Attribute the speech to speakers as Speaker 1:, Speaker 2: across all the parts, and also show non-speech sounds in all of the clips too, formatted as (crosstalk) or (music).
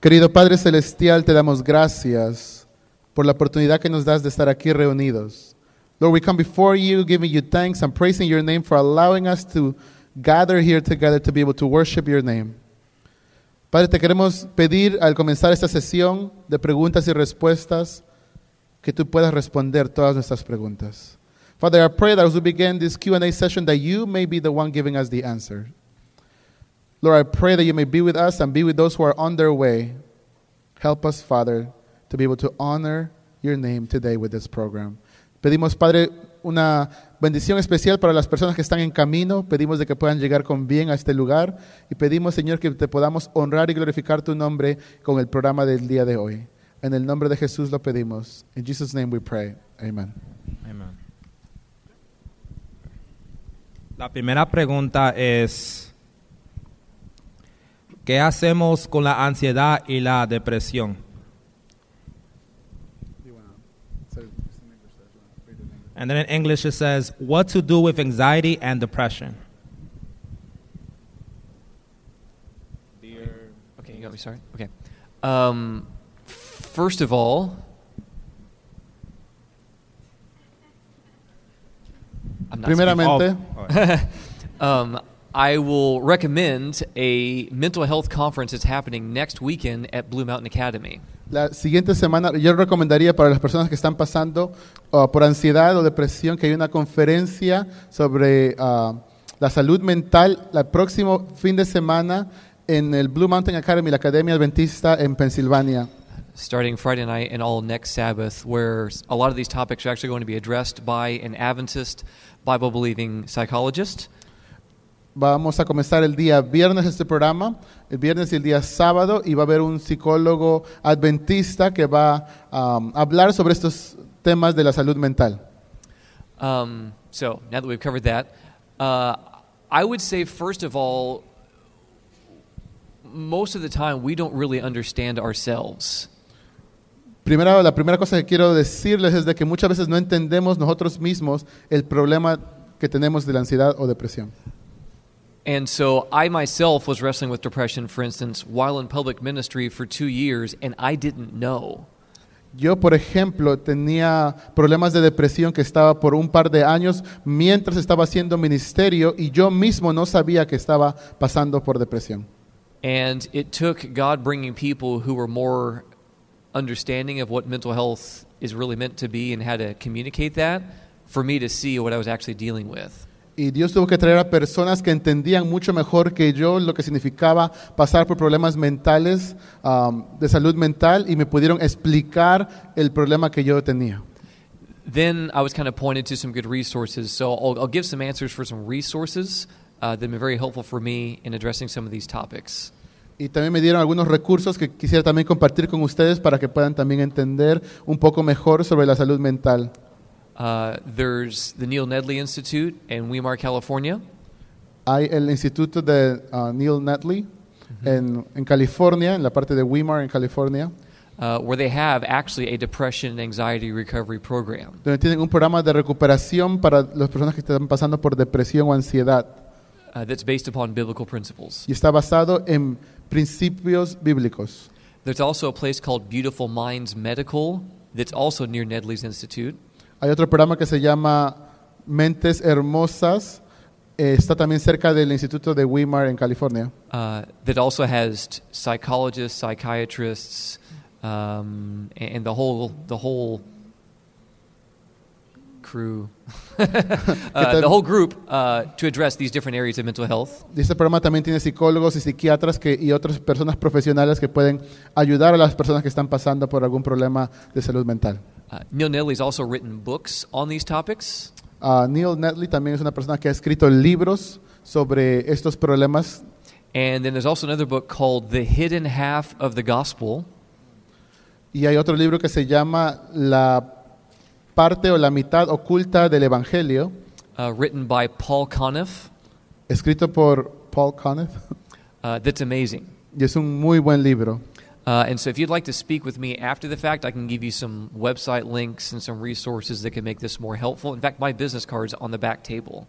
Speaker 1: Querido Padre Celestial, te damos gracias por la oportunidad que nos das de estar aquí reunidos. Lord, we come before you, giving you thanks and praising your name for allowing us to gather here together to be able to worship your name. Padre, te queremos pedir al comenzar esta sesión de preguntas y respuestas que tú puedas responder todas nuestras preguntas. Father, I pray that as we begin this Q&A session that you may be the one giving us the answer. Lord, I pray that you may be with us and be with those who are on their way. Help us, Father, to be able to honor your name today with this program. Pedimos, Padre, una bendición especial para las personas que están en camino. Pedimos de que puedan llegar con bien a este lugar. Y pedimos, Señor, que te podamos honrar y glorificar tu nombre con el programa del día de hoy. En el nombre de Jesús lo pedimos. In Jesus' name we pray. Amen.
Speaker 2: Amen. La primera pregunta es, ¿qué hacemos con la ansiedad y la depresión? And then in English it says, what to do with anxiety and depression?
Speaker 3: Okay, you got me started. Okay. Um, first of all, I'm not speaking-
Speaker 1: Primeramente,
Speaker 2: Oh,
Speaker 3: (laughs) um, I will recommend a mental health conference that's happening next weekend at Blue Mountain Academy.
Speaker 1: la siguiente semana yo recomendaría para las personas que están pasando uh, por ansiedad o depresión que hay una conferencia sobre uh, la salud mental el próximo fin de semana en el Blue Mountain Academy, la Academia Adventista en Pensilvania.
Speaker 3: starting Friday night and all next Sabbath, where s- a lot of these topics are actually going to be addressed by an Adventist, Bible believing psychologist.
Speaker 1: Vamos a comenzar el día viernes este programa, el viernes y el día sábado, y va a haber un psicólogo adventista que va um, a hablar sobre estos temas de la salud mental.
Speaker 3: Um, so now that we've covered that, uh, I would say, first of all, most of the time we don't really understand ourselves.
Speaker 1: Primero, la primera cosa que quiero decirles es de que muchas veces no entendemos nosotros mismos el problema que tenemos de la ansiedad o depresión.
Speaker 3: And so I myself was wrestling with depression, for instance, while in public ministry for two years, and I didn't know.
Speaker 1: Yo, por ejemplo, tenía problemas de depresión que estaba por un par de años mientras estaba haciendo ministerio y yo mismo no sabía que estaba pasando por depresión.
Speaker 3: And it took God bringing people who were more understanding of what mental health is really meant to be and how to communicate that for me to see what I was actually dealing with.
Speaker 1: Y Dios tuvo que traer a personas que entendían mucho mejor que yo lo que significaba pasar por problemas mentales, um, de salud mental, y me pudieron explicar el problema que yo tenía.
Speaker 3: Then I was kind of pointed to some good resources. So I'll, I'll give some answers for some resources uh, that have been very helpful for me in addressing some of these topics.
Speaker 1: Y también me dieron algunos recursos que quisiera también compartir con ustedes para que puedan también entender un poco mejor sobre la salud mental.
Speaker 3: Uh, there's the Neil Nedley Institute in Weimar, California.
Speaker 1: Hay el Instituto de uh, Neil Nutley en, en California, en la parte de Weimar, en California,
Speaker 3: Uh, where they have actually a depression and anxiety recovery program.
Speaker 1: donde tienen un programa de recuperación para las personas que están pasando por depresión o ansiedad.
Speaker 3: uh, that's based upon biblical principles.
Speaker 1: Y está basado en principios bíblicos.
Speaker 3: There's also a place called Beautiful Minds Medical that's also near Nedley's Institute.
Speaker 1: Hay otro programa que se llama Mentes Hermosas. eh, está también cerca del Instituto de Weimar, en California.
Speaker 3: Uh, that also has t- psychologists, psychiatrists, um, a- and the whole the whole crew, (laughs) uh, the whole group uh, to address these different areas of mental health.
Speaker 1: Y este programa también tiene psicólogos y psiquiatras que, y otras personas profesionales que pueden ayudar a las personas que están pasando por algún problema de salud mental.
Speaker 3: Uh, Neil Nedley's also written books on these topics.
Speaker 1: Ah, Neil Netley también es una persona que ha escrito libros sobre estos problemas.
Speaker 3: And then there's also another book called The Hidden Half of the Gospel.
Speaker 1: Y hay otro libro que se llama La parte o la mitad oculta del Evangelio,
Speaker 3: uh, written by Paul Conniff
Speaker 1: escrito por Paul Conniff. (laughs)
Speaker 3: uh, that's amazing.
Speaker 1: Y es un muy buen libro.
Speaker 3: Uh, and so, if you'd like to speak with me after the fact, I can give you some website links and some resources that can make this more helpful. In fact, my business card's on the back table.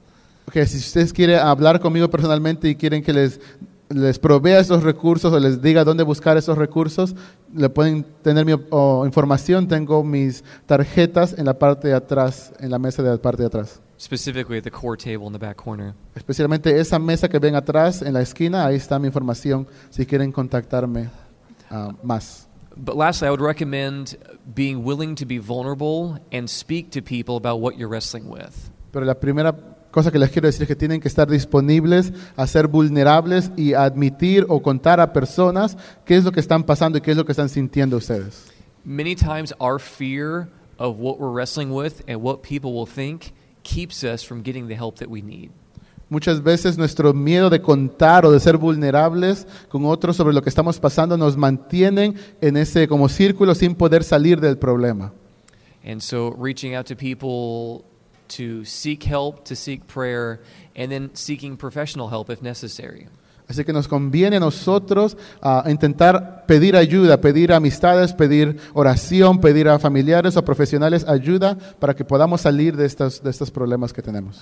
Speaker 1: Ok, si ustedes quieren hablar conmigo personalmente y quieren que les les provea esos recursos o les diga dónde buscar esos recursos, le pueden tener mi o, información. Tengo mis tarjetas en la parte de atrás, en la mesa de la parte de atrás.
Speaker 3: specifically at the core table in the back corner.
Speaker 1: Especialmente esa mesa que ven atrás, en la esquina, ahí está mi información si quieren contactarme ah, más.
Speaker 3: But lastly, I would recommend being willing to be vulnerable and speak to people about what you're wrestling with.
Speaker 1: Pero la primera cosa que les quiero decir es que tienen que estar disponibles a ser vulnerables y a admitir o contar a personas qué es lo que están pasando y qué es lo que están sintiendo ustedes.
Speaker 3: Many times, our fear of what we're wrestling with and what people will think keeps us from getting the help that we need.
Speaker 1: Muchas veces nuestro miedo de contar o de ser vulnerables con otros sobre lo que estamos pasando nos mantienen en ese como círculo sin poder salir del problema.
Speaker 3: And so, reaching out to people to seek help, to seek prayer, and then seeking professional help if necessary.
Speaker 1: Así que nos conviene a nosotros ah, intentar pedir ayuda, pedir amistades, pedir oración, pedir a familiares o profesionales ayuda para que podamos salir de estos, de estos problemas que tenemos.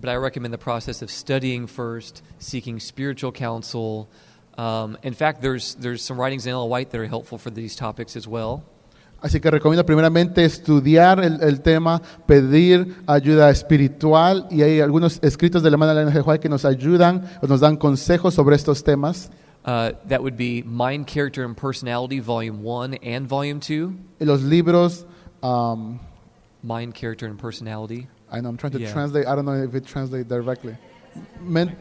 Speaker 3: But I recommend the process of studying first, seeking spiritual counsel. Um, in fact, there's, there's some writings in Ellen White that are helpful for these topics as well.
Speaker 1: Así que recomiendo primeramente estudiar el, el tema, pedir ayuda espiritual y hay algunos escritos de la hermana Elena G. White que nos ayudan o nos dan consejos sobre estos temas.
Speaker 3: Uh, that would be Mind, Character, and Personality, Volume 1 and Volume 2.
Speaker 1: Los libros, um,
Speaker 3: Mind, Character, and Personality.
Speaker 1: I know I'm trying to
Speaker 3: Yeah.
Speaker 1: translate, I don't know if it translates directly. Men-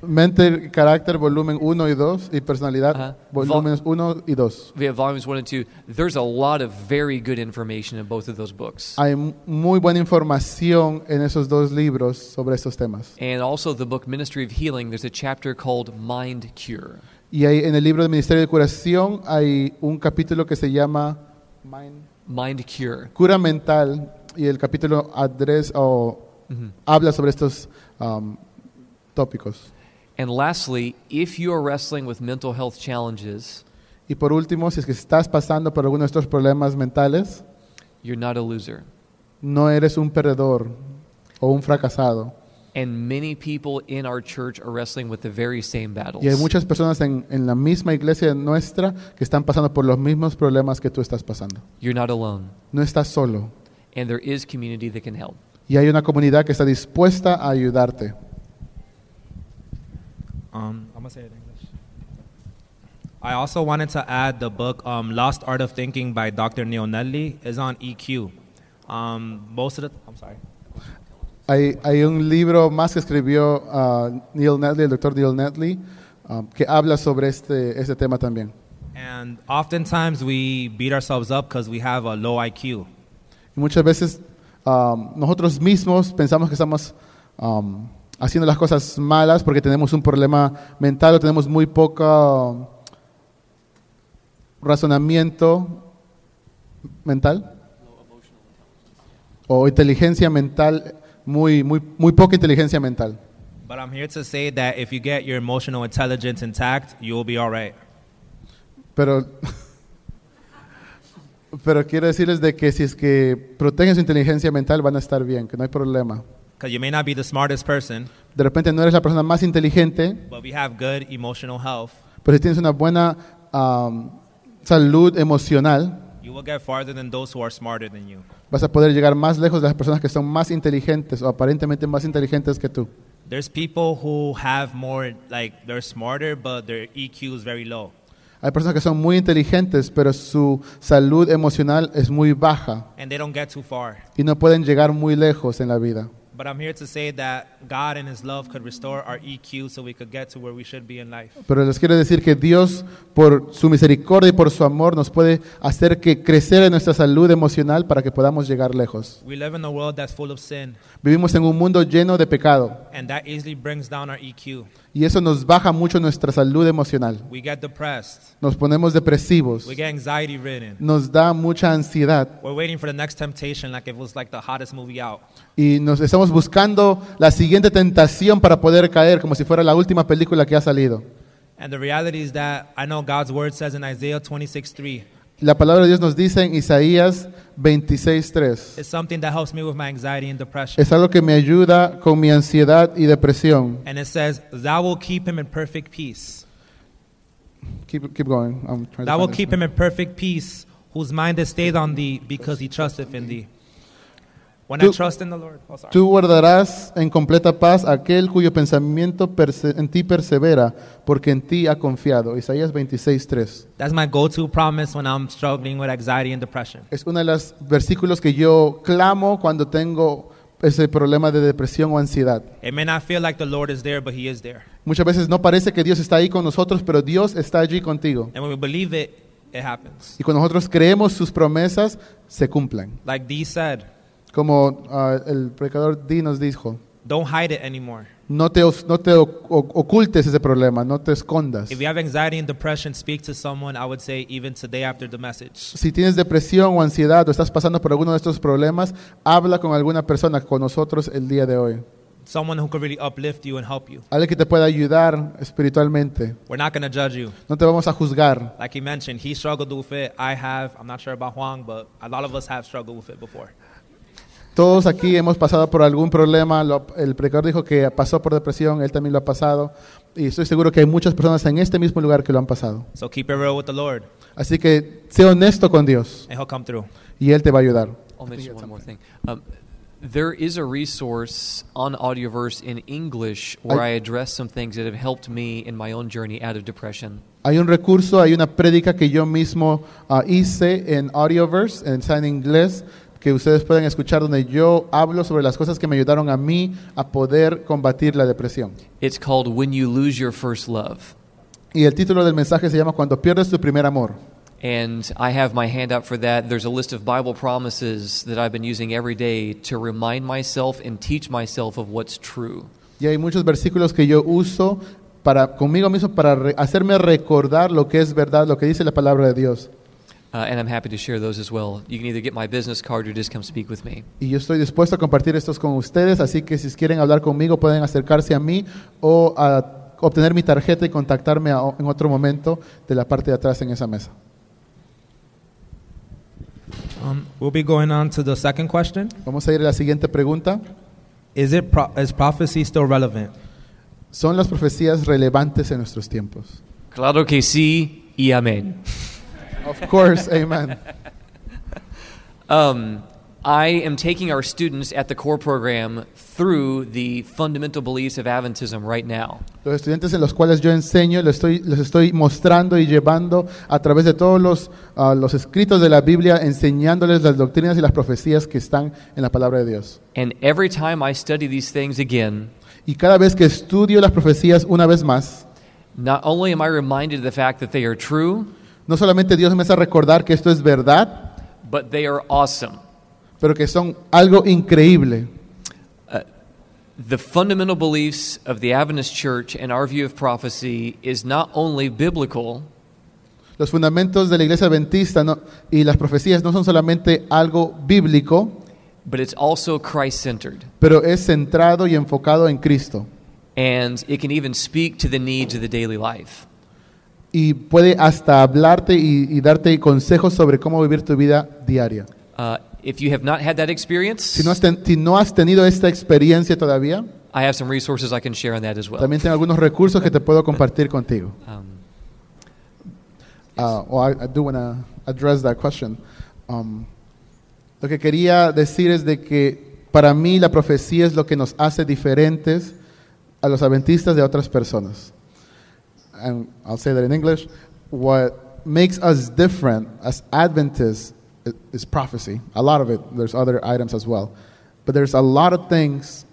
Speaker 1: mente, carácter, volumen 1 y 2 y personalidad,
Speaker 3: Ajá.
Speaker 1: volúmenes 1 y 2.
Speaker 3: We have volumes 1 and 2. There's a lot of very good information in both of those books.
Speaker 1: Hay mu- muy buena información en esos dos libros sobre estos temas.
Speaker 3: And also the book Ministry of Healing, there's a chapter called Mind Cure.
Speaker 1: Y hay, en el libro del Ministerio de Curación hay un capítulo que se llama Mind-
Speaker 3: Mind Cure.
Speaker 1: Cura Mental y el capítulo adres, o, habla sobre estos um, tópicos.
Speaker 3: And lastly, if you are wrestling with mental health challenges,
Speaker 1: Y por último, si es que estás pasando por alguno de estos problemas mentales,
Speaker 3: you're not a loser.
Speaker 1: no eres un perdedor o un fracasado.
Speaker 3: And many people in our church are wrestling with the very same battles.
Speaker 1: Y hay muchas personas en, en la misma iglesia nuestra que están pasando por los mismos problemas que tú estás pasando.
Speaker 3: You're not alone.
Speaker 1: No estás solo.
Speaker 3: And there is community that can help.
Speaker 1: Y hay una comunidad que está dispuesta a ayudarte.
Speaker 2: Um, I'm gonna say it in English. I also wanted to add the book um, "Lost Art of Thinking" by Dr. Neil Nelly is on EQ. Um, most of the I'm sorry.
Speaker 1: Hay, hay un libro más que escribió ah, Neil Netley, el doctor Neil Netley, ah, que habla sobre este, este tema también.
Speaker 2: And oftentimes we beat ourselves up because we have a low IQ.
Speaker 1: Y muchas veces ah, nosotros mismos pensamos que estamos ah, haciendo las cosas malas porque tenemos un problema mental o tenemos muy poco razonamiento mental o inteligencia mental, muy, muy, muy poca inteligencia mental.
Speaker 2: But I'm here to say that if you get your emotional intelligence intact, you'll be all right.
Speaker 1: Pero, pero quiero decirles de que si es que protegen su inteligencia mental van a estar bien, que no hay problema.
Speaker 2: Because you may not be the smartest person,
Speaker 1: De repente no eres la persona más inteligente,
Speaker 2: but we have good emotional health.
Speaker 1: pero si tienes una buena am, salud emocional,
Speaker 2: You will get farther than those who are smarter than you.
Speaker 1: vas a poder llegar más lejos de las personas que son más inteligentes o aparentemente más inteligentes que tú.
Speaker 2: There's people who have more, like, they're smarter, but their EQ is very low.
Speaker 1: Hay personas que son muy inteligentes, pero su salud emocional es muy baja
Speaker 2: and they don't get too far.
Speaker 1: y no pueden llegar muy lejos en la vida.
Speaker 2: But I'm here to say that God and His love could restore our EQ so we could get to where we should be in life.
Speaker 1: Pero les quiero decir que Dios, por su misericordia y por su amor, nos puede hacer que crecer en nuestra salud emocional para que podamos llegar lejos.
Speaker 2: We live in a world that's full of sin,
Speaker 1: Vivimos en un mundo lleno de pecado
Speaker 2: and that easily brings down our E EQ.
Speaker 1: y eso nos baja mucho nuestra salud emocional.
Speaker 2: We get depressed,
Speaker 1: Nos ponemos depresivos,
Speaker 2: we get anxiety ridden.
Speaker 1: nos da mucha ansiedad
Speaker 2: We're waiting for the next temptation, like if it was like the hottest movie out.
Speaker 1: y nos estamos buscando la siguiente tentación para poder caer como si fuera la última película que ha salido.
Speaker 2: And the reality is that I know God's word says in Isaiah 26 3,
Speaker 1: La palabra de Dios nos dice en Isaías 26:3.
Speaker 2: It's something that helps me with my anxiety and depression.
Speaker 1: Es algo que me ayuda con mi ansiedad y depresión.
Speaker 2: And it says, Thou will keep him in perfect peace.
Speaker 1: Keep, keep going. I'm trying to
Speaker 2: Thou will
Speaker 1: find it.
Speaker 2: keep him in perfect peace, whose mind is stayed on thee, because he trusteth in thee. When I
Speaker 1: Tú-
Speaker 2: trust in the Lord, oh, sorry.
Speaker 1: Tú guardarás en completa paz aquel cuyo pensamiento perse- en ti persevera, porque en ti ha confiado. Isaías 26:3.
Speaker 2: that's my go-to promise when I'm struggling with anxiety and depression.
Speaker 1: Es uno de los versículos que yo clamo cuando tengo ese problema de depresión o ansiedad.
Speaker 2: It may not feel like the Lord is there, but He is there.
Speaker 1: Muchas veces no parece que Dios está ahí con nosotros, pero Dios está allí contigo.
Speaker 2: And when we believe it, it happens.
Speaker 1: Y cuando nosotros creemos sus promesas, se cumplen.
Speaker 2: Like Dee said,
Speaker 1: Como ah, el predicador Di nos dijo,
Speaker 2: don't hide it anymore.
Speaker 1: no te, os- no te o- o- ocultes ese problema, no te escondas.
Speaker 2: If you have anxiety and depression, speak to someone. I would say even today after the message.
Speaker 1: Si tienes depresión o ansiedad o estás pasando por alguno de estos problemas, habla con alguna persona, con nosotros el día de hoy.
Speaker 2: Someone who could really uplift you and help you.
Speaker 1: Alguien que te pueda ayudar espiritualmente.
Speaker 2: We're not going to judge you.
Speaker 1: No te vamos a juzgar.
Speaker 2: Like he mentioned, he struggled with it. I have. I'm not sure about Huang, but a lot of us have struggled with it before.
Speaker 1: Todos aquí hemos pasado por algún problema. Lo- el predicador dijo que pasó por depresión, él también lo ha pasado. Y estoy seguro que hay muchas personas en este mismo lugar que lo han pasado.
Speaker 2: So keep it real with the Lord,
Speaker 1: Así que sé honesto con Dios
Speaker 2: and He'll come through.
Speaker 1: y Él te va a ayudar.
Speaker 3: I'll mention one more thing. Um, there is a resource on Audioverse in English where I,
Speaker 1: I-
Speaker 3: address some things that have helped me in my own journey out of depression.
Speaker 1: Hay un recurso, hay una prédica que yo mismo ah, hice en Audioverse, en está en inglés, que ustedes pueden escuchar donde yo hablo sobre las cosas que me ayudaron a mí a poder combatir la depresión.
Speaker 3: It's called When You Lose Your First Love.
Speaker 1: Y el título del mensaje se llama Cuando pierdes tu primer amor.
Speaker 3: And I have my handout for that. There's a list of Bible promises that I've been using every day to remind myself and teach myself of what's true.
Speaker 1: Y hay muchos versículos que yo uso para conmigo mismo para re- hacerme recordar lo que es verdad, lo que dice la palabra de Dios.
Speaker 3: Uh, and I'm happy to share those as well. You can either get my business card or just come speak with me.
Speaker 1: Y yo estoy dispuesto a compartir estos con ustedes, así que si quieren hablar conmigo pueden acercarse a mí o a obtener mi tarjeta y contactarme a- en otro momento de la parte de atrás en esa mesa.
Speaker 2: Um, we'll be going on to the second question.
Speaker 1: Vamos a ir a la siguiente pregunta.
Speaker 2: Is it pro- is prophecy still relevant?
Speaker 1: ¿Son las profecías relevantes en nuestros tiempos?
Speaker 3: Claro que sí y amén.
Speaker 1: Of course, (laughs) amen.
Speaker 3: Um, I am taking our students at the core program through the fundamental beliefs of Adventism right now.
Speaker 1: Los estudiantes en los cuales yo enseño, los estoy, los estoy mostrando y llevando a través de todos los, ah, los escritos de la Biblia, enseñándoles las doctrinas y las profecías que están en la palabra de Dios.
Speaker 3: And every time I study these things again,
Speaker 1: Y cada vez que estudio las profecías una vez más,
Speaker 3: not only am I reminded of the fact that they are true,
Speaker 1: no solamente Dios me hace recordar que esto es verdad,
Speaker 3: but they are awesome.
Speaker 1: pero que son algo increíble.
Speaker 3: The fundamental beliefs of the Adventist Church and our view of prophecy is not only biblical,
Speaker 1: Los fundamentos de la iglesia adventista no- y las profecías no son solamente algo bíblico,
Speaker 3: but it's also Christ centered.
Speaker 1: pero es centrado y enfocado en Cristo.
Speaker 3: And it can even speak to the needs of the daily life.
Speaker 1: y puede hasta hablarte y, y darte consejos sobre cómo vivir tu vida diaria.
Speaker 3: Uh, if you have not had that experience,
Speaker 1: Si no has, ten- si no has tenido esta experiencia todavía,
Speaker 3: I have some resources I can share on that as well.
Speaker 1: también tengo algunos recursos que te puedo compartir contigo.
Speaker 3: Um,
Speaker 1: Ah, oh, I, I do want to address that question. Um, lo que quería decir es de que para mí la profecía es lo que nos hace diferentes a los adventistas de otras personas. And I'll say that in English. What makes us different as Adventists i- is prophecy. A lot of it. There's other items as well. But there's a lot of things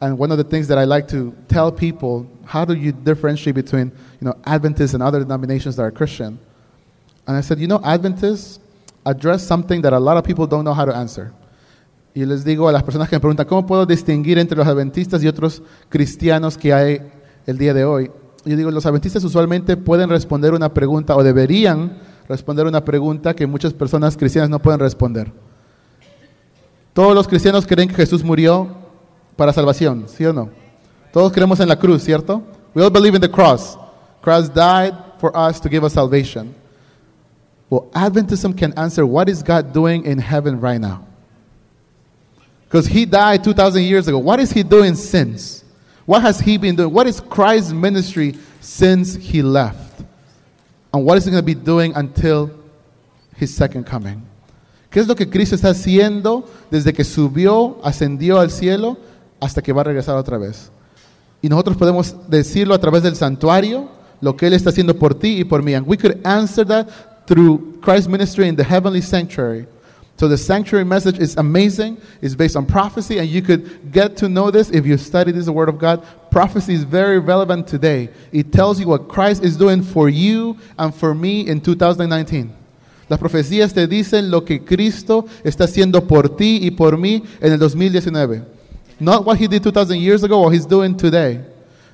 Speaker 1: and one of the things that I like to tell people, how do you differentiate between you know Adventists and other denominations that are Christian? And I said, you know, Adventists address something that a lot of people don't know how to answer. Y les digo a las personas que me preguntan, ¿cómo puedo distinguir entre los adventistas y otros cristianos que hay el día de hoy? Yo digo, los adventistas usualmente pueden responder una pregunta o deberían responder una pregunta que muchas personas cristianas no pueden responder. Todos los cristianos creen que Jesús murió para salvación, ¿sí o no? Todos creemos en la cruz, ¿cierto? We all believe in the cross. Christ died for us to give us salvation. Well, Adventism can answer what is God doing in heaven right now? Because he died 2,000 years ago. What is he doing since? What has he been doing? What is Christ's ministry since he left? And what is he going to be doing until his second coming? ¿Qué es lo que Cristo está haciendo desde que subió, ascendió al cielo, hasta que va a regresar otra vez? Y nosotros podemos decirlo a través del santuario, lo que Él está haciendo por ti y por mí. And we could answer that through Christ's ministry in the heavenly sanctuary. So the sanctuary message is amazing. It's based on prophecy, and you could get to know this if you study this the Word of God. Prophecy is very relevant today. It tells you what Christ is doing for you and for me in 2019. Las profecías te dicen lo que Cristo está haciendo por ti y por mí en el 2019. Not what he did 2000 years ago, what he's doing today.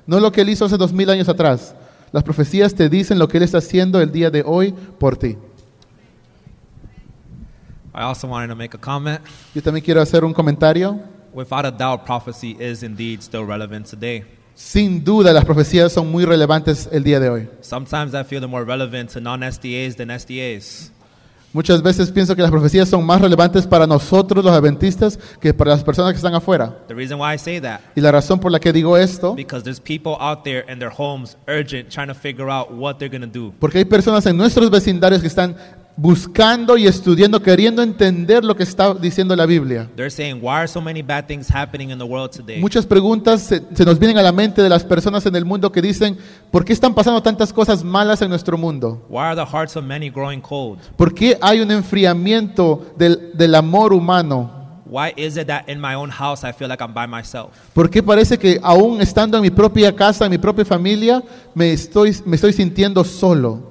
Speaker 1: No lo que él hizo hace 2000 años atrás. Las profecías te dicen lo que él está haciendo el día de hoy por ti.
Speaker 2: I also wanted to make a comment.
Speaker 1: Yo también quiero hacer un comentario.
Speaker 2: Without a doubt, prophecy is indeed still relevant today.
Speaker 1: Sin duda, las profecías son muy relevantes el día de hoy.
Speaker 2: Sometimes I feel they're more relevant to non SDAs than SDAs.
Speaker 1: Muchas veces pienso que las profecías son más relevantes para nosotros los adventistas que para las personas que están afuera.
Speaker 2: The reason why I say that,
Speaker 1: Y la razón por la que digo esto,
Speaker 2: because there's people out there in their homes urgent trying to figure out what they're going to do.
Speaker 1: porque hay personas en nuestros vecindarios que están buscando y estudiando, queriendo entender lo que está diciendo la Biblia.
Speaker 2: They're saying, why are so many bad things happening in the world today?
Speaker 1: Muchas preguntas se, se nos vienen a la mente de las personas en el mundo que dicen, ¿por qué están pasando tantas cosas malas en nuestro mundo?
Speaker 2: Why are the hearts of many growing cold?
Speaker 1: ¿Por qué hay un enfriamiento del, del amor humano?
Speaker 2: Why is it that in my own house I feel like I'm by myself?
Speaker 1: ¿Por qué parece que aún estando en mi propia casa, en mi propia familia, me estoy, me estoy sintiendo solo?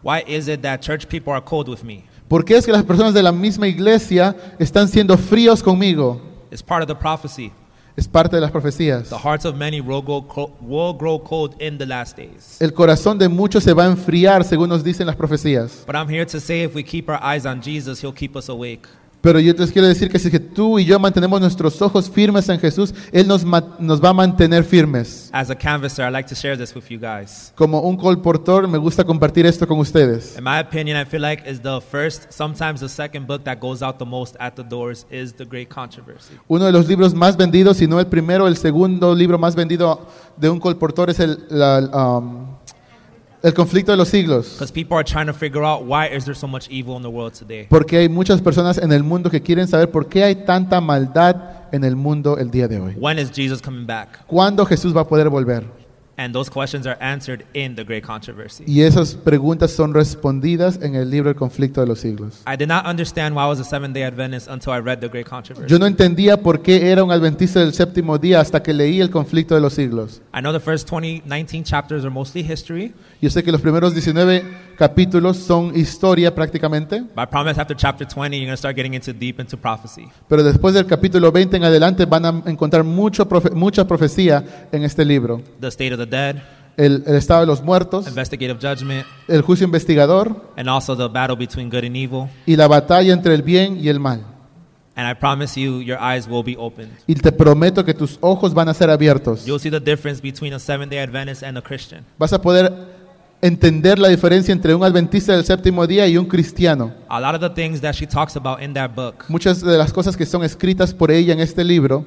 Speaker 2: Why is it that church people are cold with me?
Speaker 1: ¿Por qué es que las personas de la misma iglesia están siendo fríos conmigo?
Speaker 2: It's part of the prophecy.
Speaker 1: Es parte de las profecías.
Speaker 2: The hearts of many will grow, co- will grow cold in the last days.
Speaker 1: El corazón de muchos se va a enfriar, según nos dicen las profecías.
Speaker 2: But I'm here to say if we keep our eyes on Jesus, he'll keep us awake.
Speaker 1: Pero yo les quiero decir que si es que tú y yo mantenemos nuestros ojos firmes en Jesús, Él nos, ma- nos va a mantener firmes.
Speaker 2: As a canvasser, I like to share this with you guys.
Speaker 1: Como un colportor, me gusta compartir esto con ustedes.
Speaker 2: In my opinion, I feel like is the first, sometimes the second book that goes out the most at the doors is The Great Controversy.
Speaker 1: Uno de los libros más vendidos, si no el primero, el segundo libro más vendido de un colportor es el, la- um, el conflicto de los siglos.
Speaker 2: Because people are trying to figure out why is there so much evil in the world today.
Speaker 1: Porque hay muchas personas en el mundo que quieren saber por qué hay tanta maldad en el mundo el día de hoy.
Speaker 2: When is Jesus coming back?
Speaker 1: ¿Cuándo Jesús va a poder volver?
Speaker 2: And those questions are answered in The Great Controversy.
Speaker 1: Y esas preguntas son respondidas en el libro El conflicto de los siglos.
Speaker 2: I did not understand why I was a seventh day Adventist until I read The Great Controversy.
Speaker 1: Yo no entendía por qué era un adventista del séptimo día hasta que leí el conflicto de los siglos.
Speaker 2: I know the first 20, 19 chapters are mostly history,
Speaker 1: Yo sé que los primeros 19 capítulos son historia prácticamente,
Speaker 2: but I promise after chapter 20, you're going to start getting into deep into prophecy.
Speaker 1: pero después del capítulo 20 en adelante van a encontrar mucho profe- mucha profecía en este libro.
Speaker 2: The state of the dead,
Speaker 1: El, el estado de los muertos,
Speaker 2: investigative judgment,
Speaker 1: el juicio investigador
Speaker 2: and also the battle between good and evil.
Speaker 1: y la batalla entre el bien y el mal.
Speaker 2: And I promise you, your eyes will be opened.
Speaker 1: Y te prometo que tus ojos van a ser abiertos.
Speaker 2: You'll see the difference between a seventh day Adventist and a Christian.
Speaker 1: Vas a poder entender la diferencia entre un adventista del séptimo día y un cristiano.
Speaker 2: A lot of the things that she talks about in that book
Speaker 1: Muchas de las cosas que son escritas por ella en este libro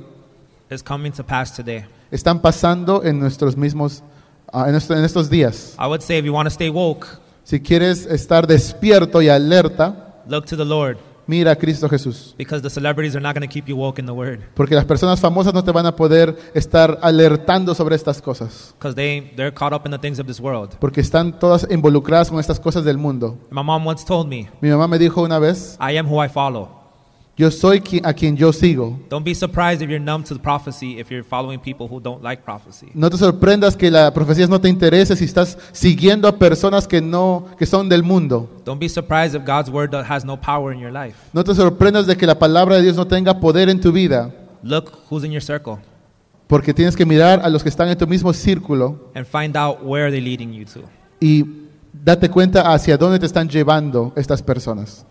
Speaker 2: is coming to pass today.
Speaker 1: están pasando en nuestros mismos, ah, en, esto- en estos días.
Speaker 2: I would say if you want to stay woke,
Speaker 1: Si quieres estar despierto y alerta,
Speaker 2: look to the Lord
Speaker 1: mira a Cristo Jesús.
Speaker 2: because the celebrities are not going to keep you woke in the Word
Speaker 1: Porque las personas famosas no te van a poder estar alertando sobre estas cosas.
Speaker 2: because they, they're caught up in the things of this world.
Speaker 1: Porque están todas involucradas con estas cosas del mundo.
Speaker 2: My mom once told me,
Speaker 1: Mi mamá me dijo una vez,
Speaker 2: I am who I follow.
Speaker 1: yo soy qui- a quien yo sigo.
Speaker 2: Don't be surprised if you're numb to the prophecy if you're following people who don't like prophecy.
Speaker 1: No te sorprendas que las profecías no te interese si estás siguiendo a personas que no que son del mundo.
Speaker 2: Don't be surprised if God's word do- has no power in your life.
Speaker 1: No te sorprendas de que la palabra de Dios no tenga poder en tu vida,
Speaker 2: Look who's in your circle
Speaker 1: porque tienes que mirar a los que están en tu mismo círculo
Speaker 2: and find out where they're leading you to.
Speaker 1: y date cuenta hacia dónde te están llevando estas personas.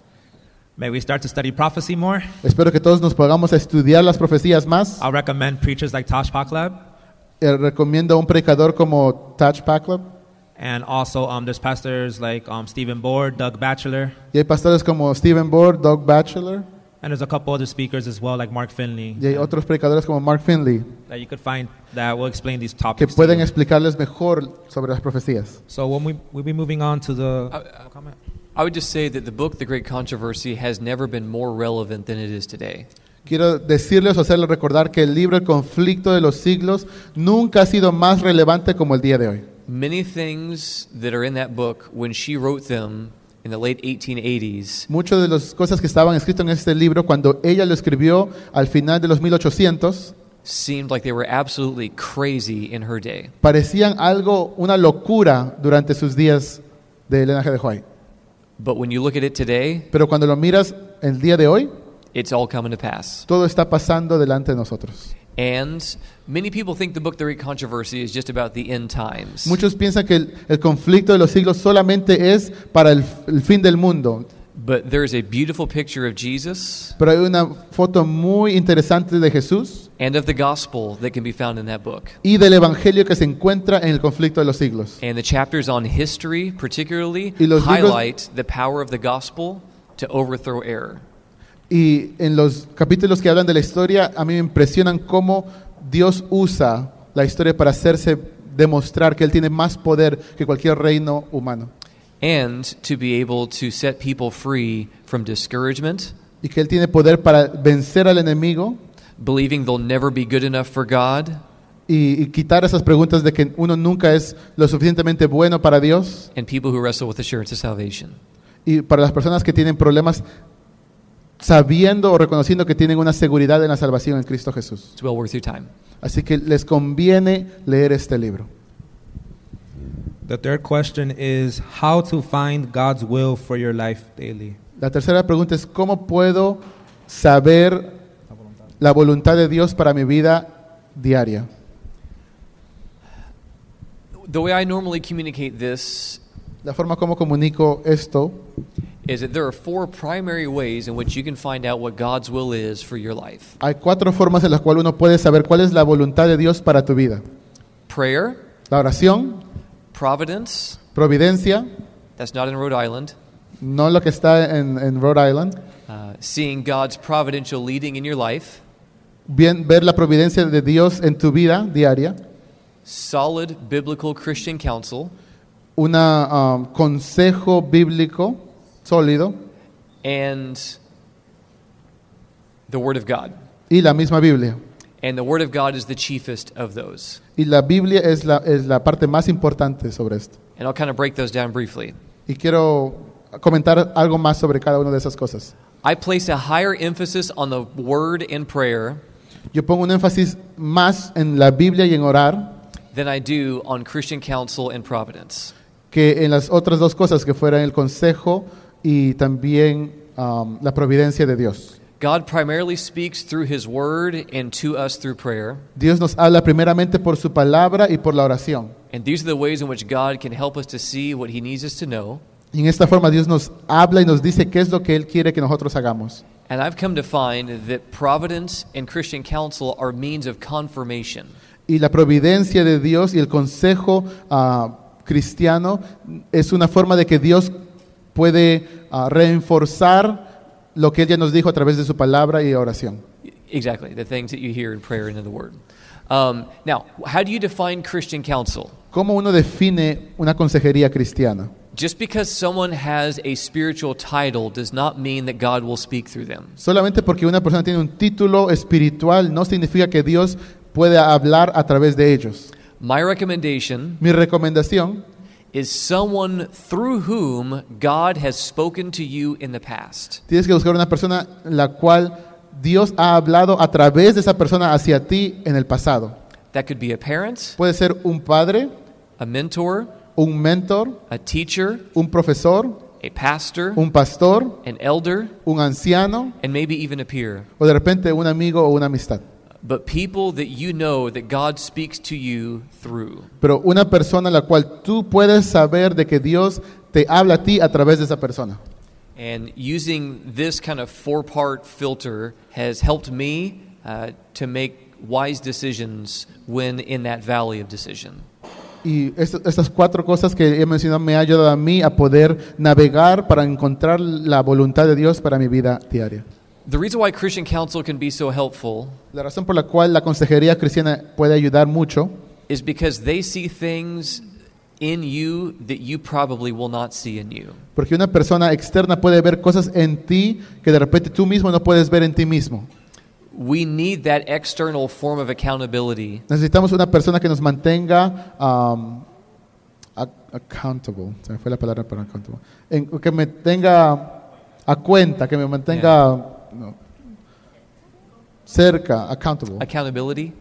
Speaker 2: May we start to study prophecy more.
Speaker 1: Espero que todos nos podamos estudiar las profecías más.
Speaker 2: I'll recommend preachers like Tosh Paklab
Speaker 1: Eh, recomiendo a un predicador como Taj Paklab
Speaker 2: And also, um, there's pastors like um, Stephen Board, Doug Batchelor,
Speaker 1: Y hay pastores como Stephen Board, Doug Batchelor,
Speaker 2: and there's a couple other speakers as well, like Mark Finley,
Speaker 1: y hay otros predicadores como Mark Finley,
Speaker 2: that you could find that will explain these
Speaker 1: que
Speaker 2: topics. to
Speaker 1: pueden
Speaker 2: you.
Speaker 1: explicarles mejor sobre las profecías.
Speaker 2: So when we we'll be moving on to the Uh, comment.
Speaker 3: I would just say that the book, The Great Controversy, has never been more relevant than it is today.
Speaker 1: Quiero decirles o hacerles recordar que el libro El conflicto de los siglos nunca ha sido más relevante como el día de hoy.
Speaker 3: Many things that are in that book, when she wrote them in the late 1880s,
Speaker 1: Muchas de las cosas que estaban escritas en este libro cuando ella lo escribió al final de los 1800
Speaker 3: seemed like they were absolutely crazy in her day.
Speaker 1: parecían algo, una locura durante sus días de Elena G. de White.
Speaker 3: But when you look at it today,
Speaker 1: Pero cuando lo miras el día de hoy,
Speaker 3: it's all coming to pass.
Speaker 1: todo está pasando delante de nosotros.
Speaker 3: And many people think the book, The Great Controversy, is just about the end times.
Speaker 1: Muchos piensan que el, el conflicto de los siglos solamente es para el, el fin del mundo,
Speaker 3: But there's a beautiful picture of Jesus
Speaker 1: pero hay una foto muy interesante de Jesús
Speaker 3: and of the gospel that can be found in that book.
Speaker 1: y del Evangelio que se encuentra en el conflicto de los siglos.
Speaker 3: And the chapters on history, particularly,
Speaker 1: Y los libros-
Speaker 3: highlight the power of the gospel to overthrow error.
Speaker 1: Y en los capítulos que hablan de la historia, a mí me impresionan cómo Dios usa la historia para hacerse demostrar que Él tiene más poder que cualquier reino humano
Speaker 3: and to be able to set people free from discouragement,
Speaker 1: y que Él tiene poder para vencer al enemigo
Speaker 3: believing they'll never be good enough for God,
Speaker 1: y, y quitar esas preguntas de que uno nunca es lo suficientemente bueno para Dios
Speaker 3: and people who wrestle with assurance of salvation.
Speaker 1: y para las personas que tienen problemas sabiendo o reconociendo que tienen una seguridad en la salvación en Cristo Jesús.
Speaker 3: It's well worth your time.
Speaker 1: Así que les conviene leer este libro.
Speaker 2: The third question is how to find God's will for your life daily.
Speaker 1: La tercera pregunta es, ¿cómo puedo saber la voluntad de Dios para mi vida diaria?
Speaker 3: The way I normally communicate this
Speaker 1: La forma como comunico esto
Speaker 3: is that there are four primary ways in which you can find out what God's will is for your life
Speaker 1: Hay cuatro formas en las cuales uno puede saber cuál es la voluntad de Dios para tu vida.
Speaker 3: prayer,
Speaker 1: La oración,
Speaker 3: providence,
Speaker 1: providencia,
Speaker 3: that's not in Rhode Island,
Speaker 1: no lo que está en, en Rhode Island,
Speaker 3: uh, seeing God's providential leading in your life,
Speaker 1: bien, ver la providencia de Dios en tu vida diaria,
Speaker 3: solid biblical Christian counsel,
Speaker 1: un um, consejo bíblico sólido
Speaker 3: and the Word of God.
Speaker 1: y la misma Biblia.
Speaker 3: And the Word of God is the chiefest of those.
Speaker 1: Y la Biblia es la, es la parte más importante sobre esto.
Speaker 3: And I'll kind of break those down briefly.
Speaker 1: Y quiero comentar algo más sobre cada una de esas cosas.
Speaker 3: I place a higher emphasis on the Word and prayer
Speaker 1: Yo pongo un énfasis más en la Biblia y en orar
Speaker 3: than I do on Christian counsel and providence.
Speaker 1: que en las otras dos cosas que fueran el consejo y también um, la providencia de Dios.
Speaker 3: God primarily speaks through His Word and to us through prayer.
Speaker 1: Dios nos habla primeramente por su palabra y por la oración.
Speaker 3: And these are the ways in which God can help us to see what He needs us to know.
Speaker 1: Y en esta forma Dios nos habla y nos dice qué es lo que Él quiere que nosotros hagamos.
Speaker 3: And I've come to find that providence and Christian counsel are means of confirmation.
Speaker 1: Y la providencia de Dios y el consejo ah, cristiano es una forma de que Dios puede ah, reenforzar lo que Él ya nos dijo a través de su palabra y oración.
Speaker 3: Exactly, the things that you hear in prayer and in the Word. Um, now, how do you define Christian counsel?
Speaker 1: ¿Cómo uno define una consejería cristiana?
Speaker 3: Just because someone has a spiritual title does not mean that God will speak through them.
Speaker 1: Solamente porque una persona tiene un título espiritual no significa que Dios pueda hablar a través de ellos.
Speaker 3: My recommendation
Speaker 1: Mi recomendación
Speaker 3: is someone through whom God has spoken to you in the past.
Speaker 1: Tienes que buscar una persona la cual Dios ha hablado a través de esa persona hacia ti en el pasado.
Speaker 3: That could be a parent,
Speaker 1: Puede ser un padre,
Speaker 3: a mentor,
Speaker 1: un mentor,
Speaker 3: a teacher,
Speaker 1: un profesor,
Speaker 3: a pastor,
Speaker 1: un pastor,
Speaker 3: an elder,
Speaker 1: un anciano
Speaker 3: and maybe even a peer.
Speaker 1: o de repente un amigo o una amistad.
Speaker 3: But people that you know that God speaks to you through.
Speaker 1: Pero una persona la cual tú puedes saber de que Dios te habla a ti a través de esa persona.
Speaker 3: And using this kind of four part filter has helped me uh, to make wise decisions when in that valley of decision.
Speaker 1: Y est- estas cuatro cosas que he mencionado me ha ayudado a mí a poder navegar para encontrar la voluntad de Dios para mi vida diaria.
Speaker 3: The reason why Christian counsel can be so helpful
Speaker 1: La razón por la cual la consejería cristiana puede ayudar mucho
Speaker 3: is because they see things in you that you probably will not see in you.
Speaker 1: Porque una persona externa puede ver cosas en ti que de repente tú mismo no puedes ver en ti mismo.
Speaker 3: We need that external form of accountability
Speaker 1: Necesitamos una persona que nos mantenga um, ac- accountable. Se me fue la palabra para accountable. En- que me tenga a cuenta, que me mantenga no, cerca, accountable.
Speaker 3: accountability.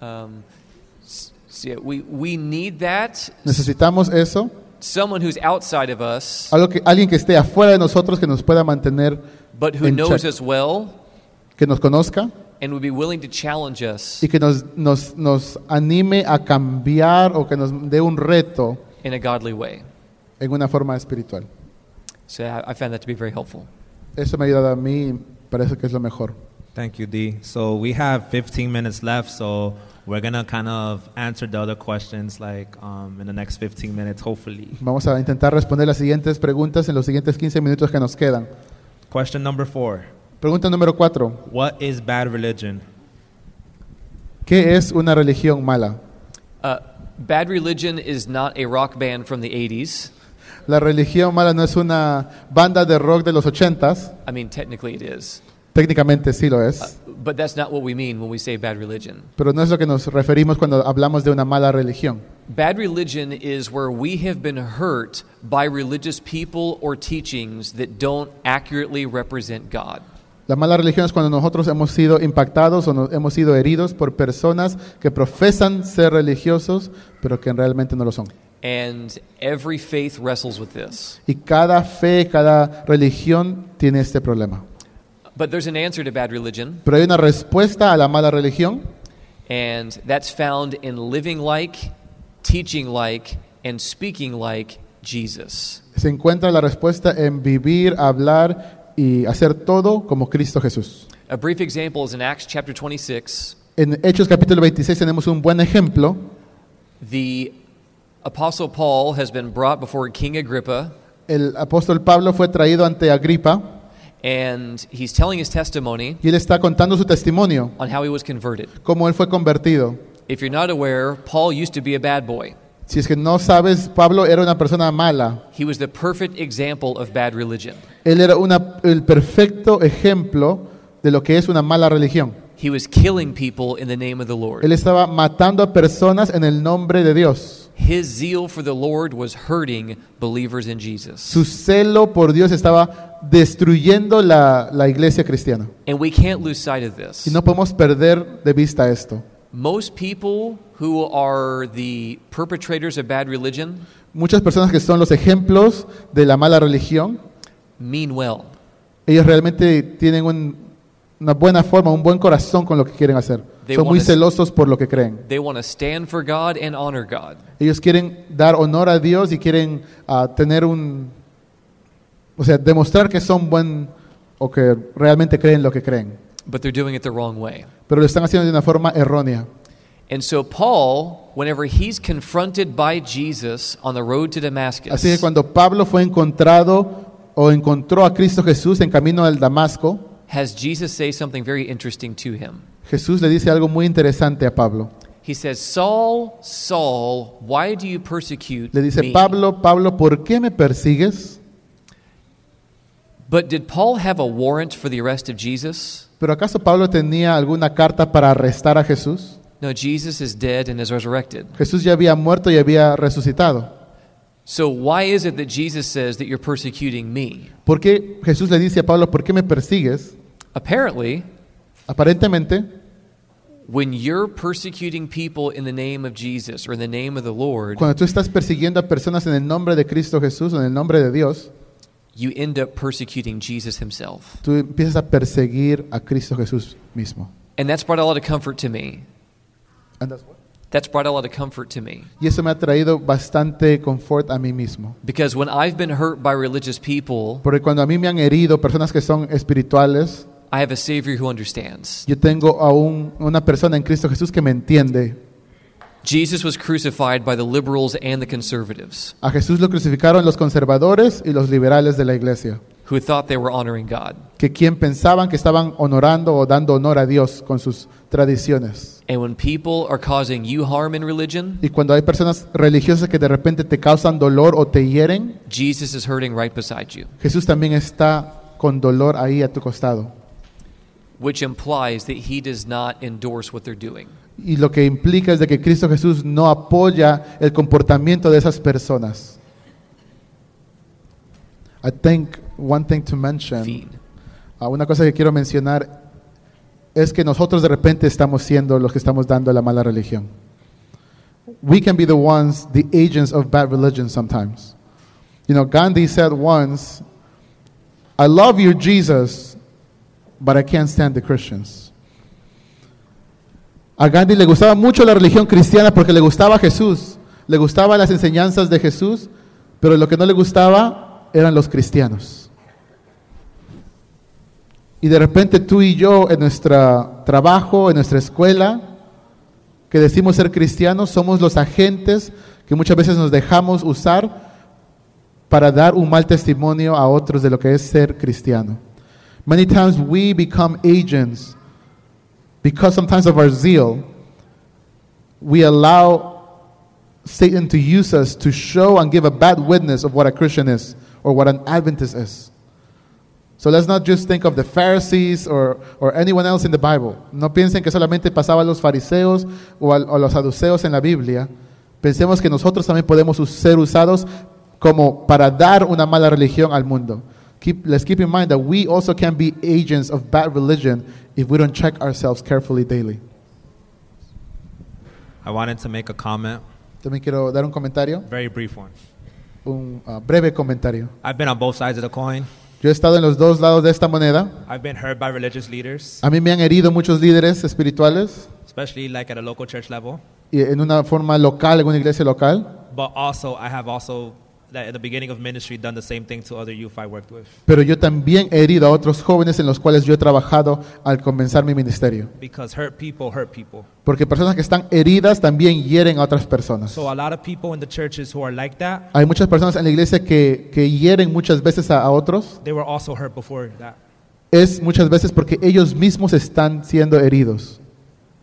Speaker 3: Um, s- s- yeah, we, we need that.
Speaker 1: Necesitamos eso.
Speaker 3: Someone who's outside of us,
Speaker 1: Algo que, alguien que esté afuera de nosotros, que nos pueda mantener,
Speaker 3: but who
Speaker 1: in
Speaker 3: knows
Speaker 1: check.
Speaker 3: us well
Speaker 1: que nos conozca
Speaker 3: and would be willing to challenge us
Speaker 1: y que nos, nos, nos anime a cambiar o que nos dé un reto
Speaker 3: in a godly way.
Speaker 1: en una forma espiritual.
Speaker 3: So I, I found that to be very helpful.
Speaker 1: Eso me ha ayudado a mí, parece que es lo mejor.
Speaker 2: Thank you, D. So we have 15 minutes left, so we're gonna kind of answer the other questions like um, in the next 15 minutes, hopefully.
Speaker 1: Vamos a intentar responder las siguientes preguntas en los siguientes 15 minutos que nos quedan.
Speaker 2: Question number four:
Speaker 1: Pregunta número 4.
Speaker 2: What is bad religion?
Speaker 1: ¿Qué es una religión mala?
Speaker 3: Uh, Bad Religion is not a rock band from the 80s.
Speaker 1: La religión mala no es una banda de rock de los 80s.
Speaker 3: I mean, technically it is. uh,
Speaker 1: Técnicamente sí lo es.
Speaker 3: But that's not what we mean when we say bad religion.
Speaker 1: Pero no es lo que nos referimos cuando hablamos de una mala religión.
Speaker 3: Bad religion is where we have been hurt by religious people or teachings that don't accurately represent God.
Speaker 1: La mala religión es cuando nosotros hemos sido impactados o nos- hemos sido heridos por personas que profesan ser religiosos, pero que realmente no lo son.
Speaker 3: And every faith wrestles with this.
Speaker 1: Y cada fe, cada religión tiene este problema.
Speaker 3: But there's an answer to bad religion,
Speaker 1: Pero hay una respuesta a la mala religión
Speaker 3: and that's found in living like, teaching like, and speaking like Jesus.
Speaker 1: se encuentra la respuesta en vivir, hablar y hacer todo como Cristo Jesús.
Speaker 3: A brief example is in Acts chapter 26.
Speaker 1: En Hechos capítulo 26 tenemos un buen ejemplo.
Speaker 3: The Apostle Paul has been brought before King Agrippa,
Speaker 1: El apóstol Pablo fue traído ante Agripa
Speaker 3: and he's telling his testimony
Speaker 1: y él está contando su testimonio,
Speaker 3: on how he was converted.
Speaker 1: cómo él fue convertido.
Speaker 3: If you're not aware, Paul used to be a bad boy.
Speaker 1: Si es que no sabes, Pablo era una persona mala.
Speaker 3: He was the perfect example of bad religion.
Speaker 1: Él era una- el perfecto ejemplo de lo que es una mala religión.
Speaker 3: He was killing people in the name of the
Speaker 1: Él
Speaker 3: Lord.
Speaker 1: estaba matando a personas en el nombre de Dios.
Speaker 3: His zeal for the Lord was hurting believers in Jesus.
Speaker 1: Su celo por Dios estaba destruyendo la, la iglesia cristiana.
Speaker 3: And we can't lose sight of this.
Speaker 1: Y no podemos perder de vista esto.
Speaker 3: Most people who are the perpetrators of bad religion
Speaker 1: Muchas personas que son los ejemplos de la mala religión,
Speaker 3: mean well.
Speaker 1: ellos realmente tienen un- una buena forma, un buen corazón con lo que quieren hacer.
Speaker 3: They
Speaker 1: Son muy
Speaker 3: wanna-
Speaker 1: celosos por lo que creen.
Speaker 3: They want to stand for God and honor God.
Speaker 1: Ellos quieren dar honor a Dios y quieren ah, tener un... O sea, demostrar que son buen o que realmente creen lo que creen.
Speaker 3: but they're doing it the wrong way.
Speaker 1: Pero lo están haciendo de una forma errónea.
Speaker 3: And so Paul, whenever he's confronted by Jesus on the road to Damascus,
Speaker 1: Así que cuando Pablo fue encontrado o encontró a Cristo Jesús en camino al Damasco,
Speaker 3: has Jesus say something very interesting to him.
Speaker 1: Jesús le dice algo muy interesante a Pablo.
Speaker 3: He says, "Saul, Saul, why do you persecute
Speaker 1: Le dice,
Speaker 3: me?"
Speaker 1: Pablo, Pablo, ¿por qué me persigues?
Speaker 3: But did Paul have a warrant for the arrest of Jesus?
Speaker 1: ¿Pero acaso Pablo tenía alguna carta para arrestar a Jesús?
Speaker 3: No, Jesus is dead and is resurrected.
Speaker 1: Jesús ya había muerto y había resucitado.
Speaker 3: So why is it that Jesus says that you're persecuting me?
Speaker 1: ¿Por qué Jesús le dice a Pablo, ¿por qué me persigues?
Speaker 3: Apparently,
Speaker 1: Aparentemente,
Speaker 3: when you're persecuting people in the name of Jesus or in the name of the Lord,
Speaker 1: cuando tú estás persiguiendo a personas en el nombre de Cristo Jesús o en el nombre de Dios,
Speaker 3: you end up persecuting Jesus himself.
Speaker 1: tú empiezas a perseguir a Cristo Jesús mismo.
Speaker 3: And that's brought a lot of comfort to me.
Speaker 1: And that's what-
Speaker 3: That's brought a lot of comfort to me.
Speaker 1: Y eso me ha traído bastante confort a mí mismo.
Speaker 3: Because when I've been hurt by religious people,
Speaker 1: Porque cuando a mí me han herido personas que son espirituales,
Speaker 3: I have a Savior who understands.
Speaker 1: yo tengo a un- una persona en Cristo Jesús que me entiende.
Speaker 3: Jesus was crucified by the liberals and the conservatives
Speaker 1: A Jesús lo crucificaron los conservadores y los liberales de la iglesia,
Speaker 3: who thought they were honoring God.
Speaker 1: que quien pensaban que estaban honorando o dando honor a Dios con sus tradiciones.
Speaker 3: And when people are causing you harm in religion,
Speaker 1: Y cuando hay personas religiosas que de repente te causan dolor o te hieren,
Speaker 3: Jesus is hurting right beside you,
Speaker 1: Jesús también está con dolor ahí a tu costado.
Speaker 3: which implies that he does not endorse what they're doing.
Speaker 1: Y lo que implica es de que Cristo Jesús no apoya el comportamiento de esas personas. I think one thing to mention,
Speaker 3: Feed.
Speaker 1: ah, una cosa que quiero mencionar es que nosotros de repente estamos siendo los que estamos dando la mala religión. We can be the ones, the agents of bad religion sometimes. You know, Gandhi said once, I love you, Jesus, but I can't stand the Christians. A Gandhi le gustaba mucho la religión cristiana porque le gustaba Jesús, le gustaban las enseñanzas de Jesús, pero lo que no le gustaba eran los cristianos. Y de repente tú y yo en nuestro trabajo, en nuestra escuela, que decimos ser cristianos, somos los agentes que muchas veces nos dejamos usar para dar un mal testimonio a otros de lo que es ser cristiano. Many times we become agents because sometimes of our zeal, we allow Satan to use us to show and give a bad witness of what a Christian is or what an Adventist is. So let's not just think of the Pharisees or, or anyone else in the Bible. No piensen que solamente pasaba a los fariseos o al- a los saduceos en la Biblia. Pensemos que nosotros también podemos us- ser usados como para dar una mala religión al mundo. Keep, let's keep in mind that we also can be agents of bad religion if we don't check ourselves carefully daily.
Speaker 2: I wanted to make a comment,
Speaker 1: También quiero dar un comentario,
Speaker 2: very brief one.
Speaker 1: un ah, breve comentario.
Speaker 2: I've been on both sides of the coin.
Speaker 1: Yo he estado en los dos lados de esta moneda.
Speaker 2: I've been hurt by religious leaders,
Speaker 1: A mí me han herido muchos líderes espirituales
Speaker 2: especially like at a local church level.
Speaker 1: y en una forma local, en una iglesia local.
Speaker 2: But also, I have also that at the beginning of ministry done the same thing to other youth I worked with
Speaker 1: Pero yo también he herido a otros jóvenes en los cuales yo he trabajado al comenzar mi ministerio.
Speaker 2: because hurt people hurt people.
Speaker 1: Porque personas que están heridas también hieren a otras personas.
Speaker 2: So a lot of people in the churches who are like that,
Speaker 1: Hay muchas personas en la iglesia que, que hieren muchas veces a, a otros.
Speaker 2: they were also hurt before that.
Speaker 1: Es muchas veces porque ellos mismos están siendo heridos.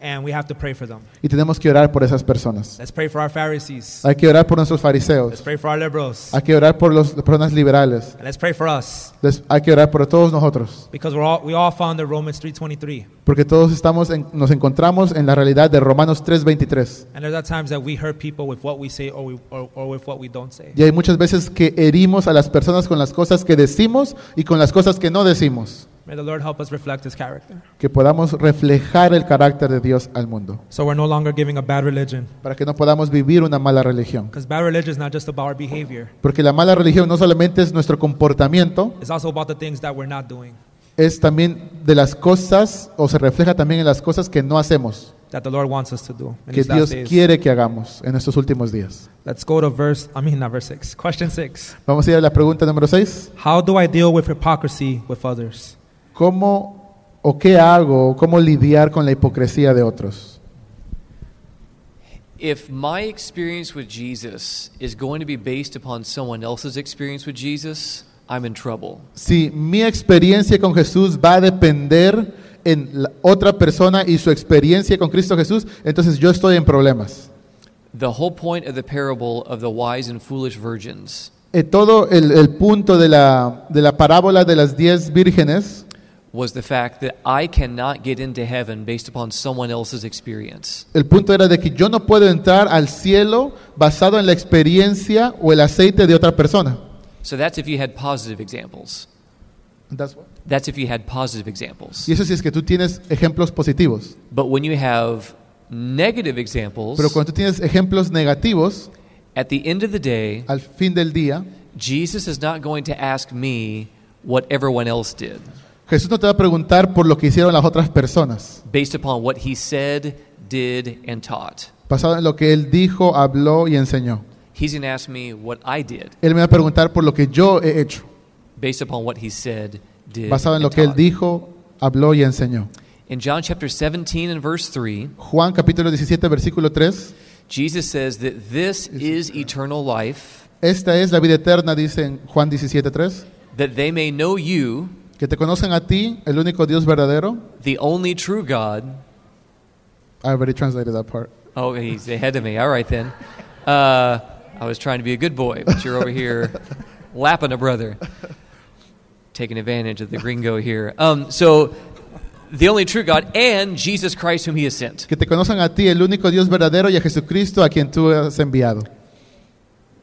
Speaker 2: And we have to pray for them.
Speaker 1: Y tenemos que orar por esas personas.
Speaker 2: Let's pray for our Pharisees.
Speaker 1: Hay que orar por nuestros
Speaker 2: Let's
Speaker 1: fariseos.
Speaker 2: pray for our liberals.
Speaker 1: Hay que orar por los- las personas liberales.
Speaker 2: And let's pray for us
Speaker 1: Les- hay que orar por todos nosotros.
Speaker 2: because we're all, we all found the Romans 3.23.
Speaker 1: Porque todos estamos en- nos encontramos en la realidad de Romanos 3:23.
Speaker 2: And there's at times that we hurt people with what we say or, we, or, or with what we don't say.
Speaker 1: Y hay muchas veces que herimos a las personas con las cosas que decimos y con las cosas que no decimos.
Speaker 2: May the Lord help us reflect his character.
Speaker 1: Que podamos reflejar el carácter de Dios al mundo.
Speaker 2: So we're no longer giving a bad religion
Speaker 1: Para que no podamos vivir una mala religión.
Speaker 2: because bad religion is not just about our behavior.
Speaker 1: Porque la mala religión no solamente es nuestro comportamiento,
Speaker 2: It's also about the things that we're not doing
Speaker 1: es también de las cosas o se refleja también en las cosas que no hacemos,
Speaker 2: that the Lord wants us to do in
Speaker 1: que
Speaker 2: these last
Speaker 1: Dios
Speaker 2: days.
Speaker 1: quiere que hagamos en estos últimos días.
Speaker 2: Let's go to verse, I mean, not verse 6. Question 6.
Speaker 1: Vamos a ir a la pregunta número 6.
Speaker 2: How do I deal with hypocrisy with others?
Speaker 1: ¿Cómo o qué hago, o cómo lidiar con la hipocresía de otros?
Speaker 3: If my experience with Jesus is going to be based upon someone else's experience with Jesus, I'm in trouble.
Speaker 1: Si mi experiencia con Jesús va a depender en la otra persona y su experiencia con Cristo Jesús, entonces yo estoy en problemas.
Speaker 3: The whole point of the parable of the wise and foolish virgins
Speaker 1: Eh, todo el, el punto de la, de la parábola de las diez vírgenes
Speaker 3: was the fact that I cannot get into heaven based upon someone else's experience.
Speaker 1: El punto era de que yo no puedo entrar al cielo basado en la experiencia o el aceite de otra persona.
Speaker 3: So that's if you had positive examples.
Speaker 1: That's what-
Speaker 3: That's if you had positive examples.
Speaker 1: Y eso sí es que tú tienes ejemplos positivos.
Speaker 3: But when you have negative examples,
Speaker 1: Pero cuando tú tienes ejemplos negativos,
Speaker 3: at the end of the day,
Speaker 1: al fin del día,
Speaker 3: Jesus is not going to ask me what everyone else did
Speaker 1: Jesús no te va a preguntar por lo que hicieron las otras personas,
Speaker 3: based upon what he said, did, and taught.
Speaker 1: basado en lo que Él dijo, habló y enseñó.
Speaker 3: He's going to ask me what I did
Speaker 1: Él me va a preguntar por lo que yo he hecho,
Speaker 3: based upon what he said, did,
Speaker 1: basado en
Speaker 3: and
Speaker 1: lo que Él
Speaker 3: taught.
Speaker 1: dijo, habló y enseñó.
Speaker 3: In John chapter 17 and verse 3,
Speaker 1: Juan capítulo 17, versículo 3,
Speaker 3: Jesus says that this is eternal life,
Speaker 1: Esta es la vida eterna, dice en Juan 17:3,
Speaker 3: that they may know you,
Speaker 1: que te conocen a ti, el único Dios verdadero.
Speaker 3: the only true God.
Speaker 1: I already translated that part.
Speaker 3: Oh, he's ahead of me. All right then. Uh, I was trying to be a good boy, but you're over here lapping a brother, taking advantage of the gringo here. Um, so, the only true God and Jesus Christ, whom He has sent.
Speaker 1: Que te conozcan a ti, el único Dios verdadero, y a Jesucristo, a quien tú has enviado.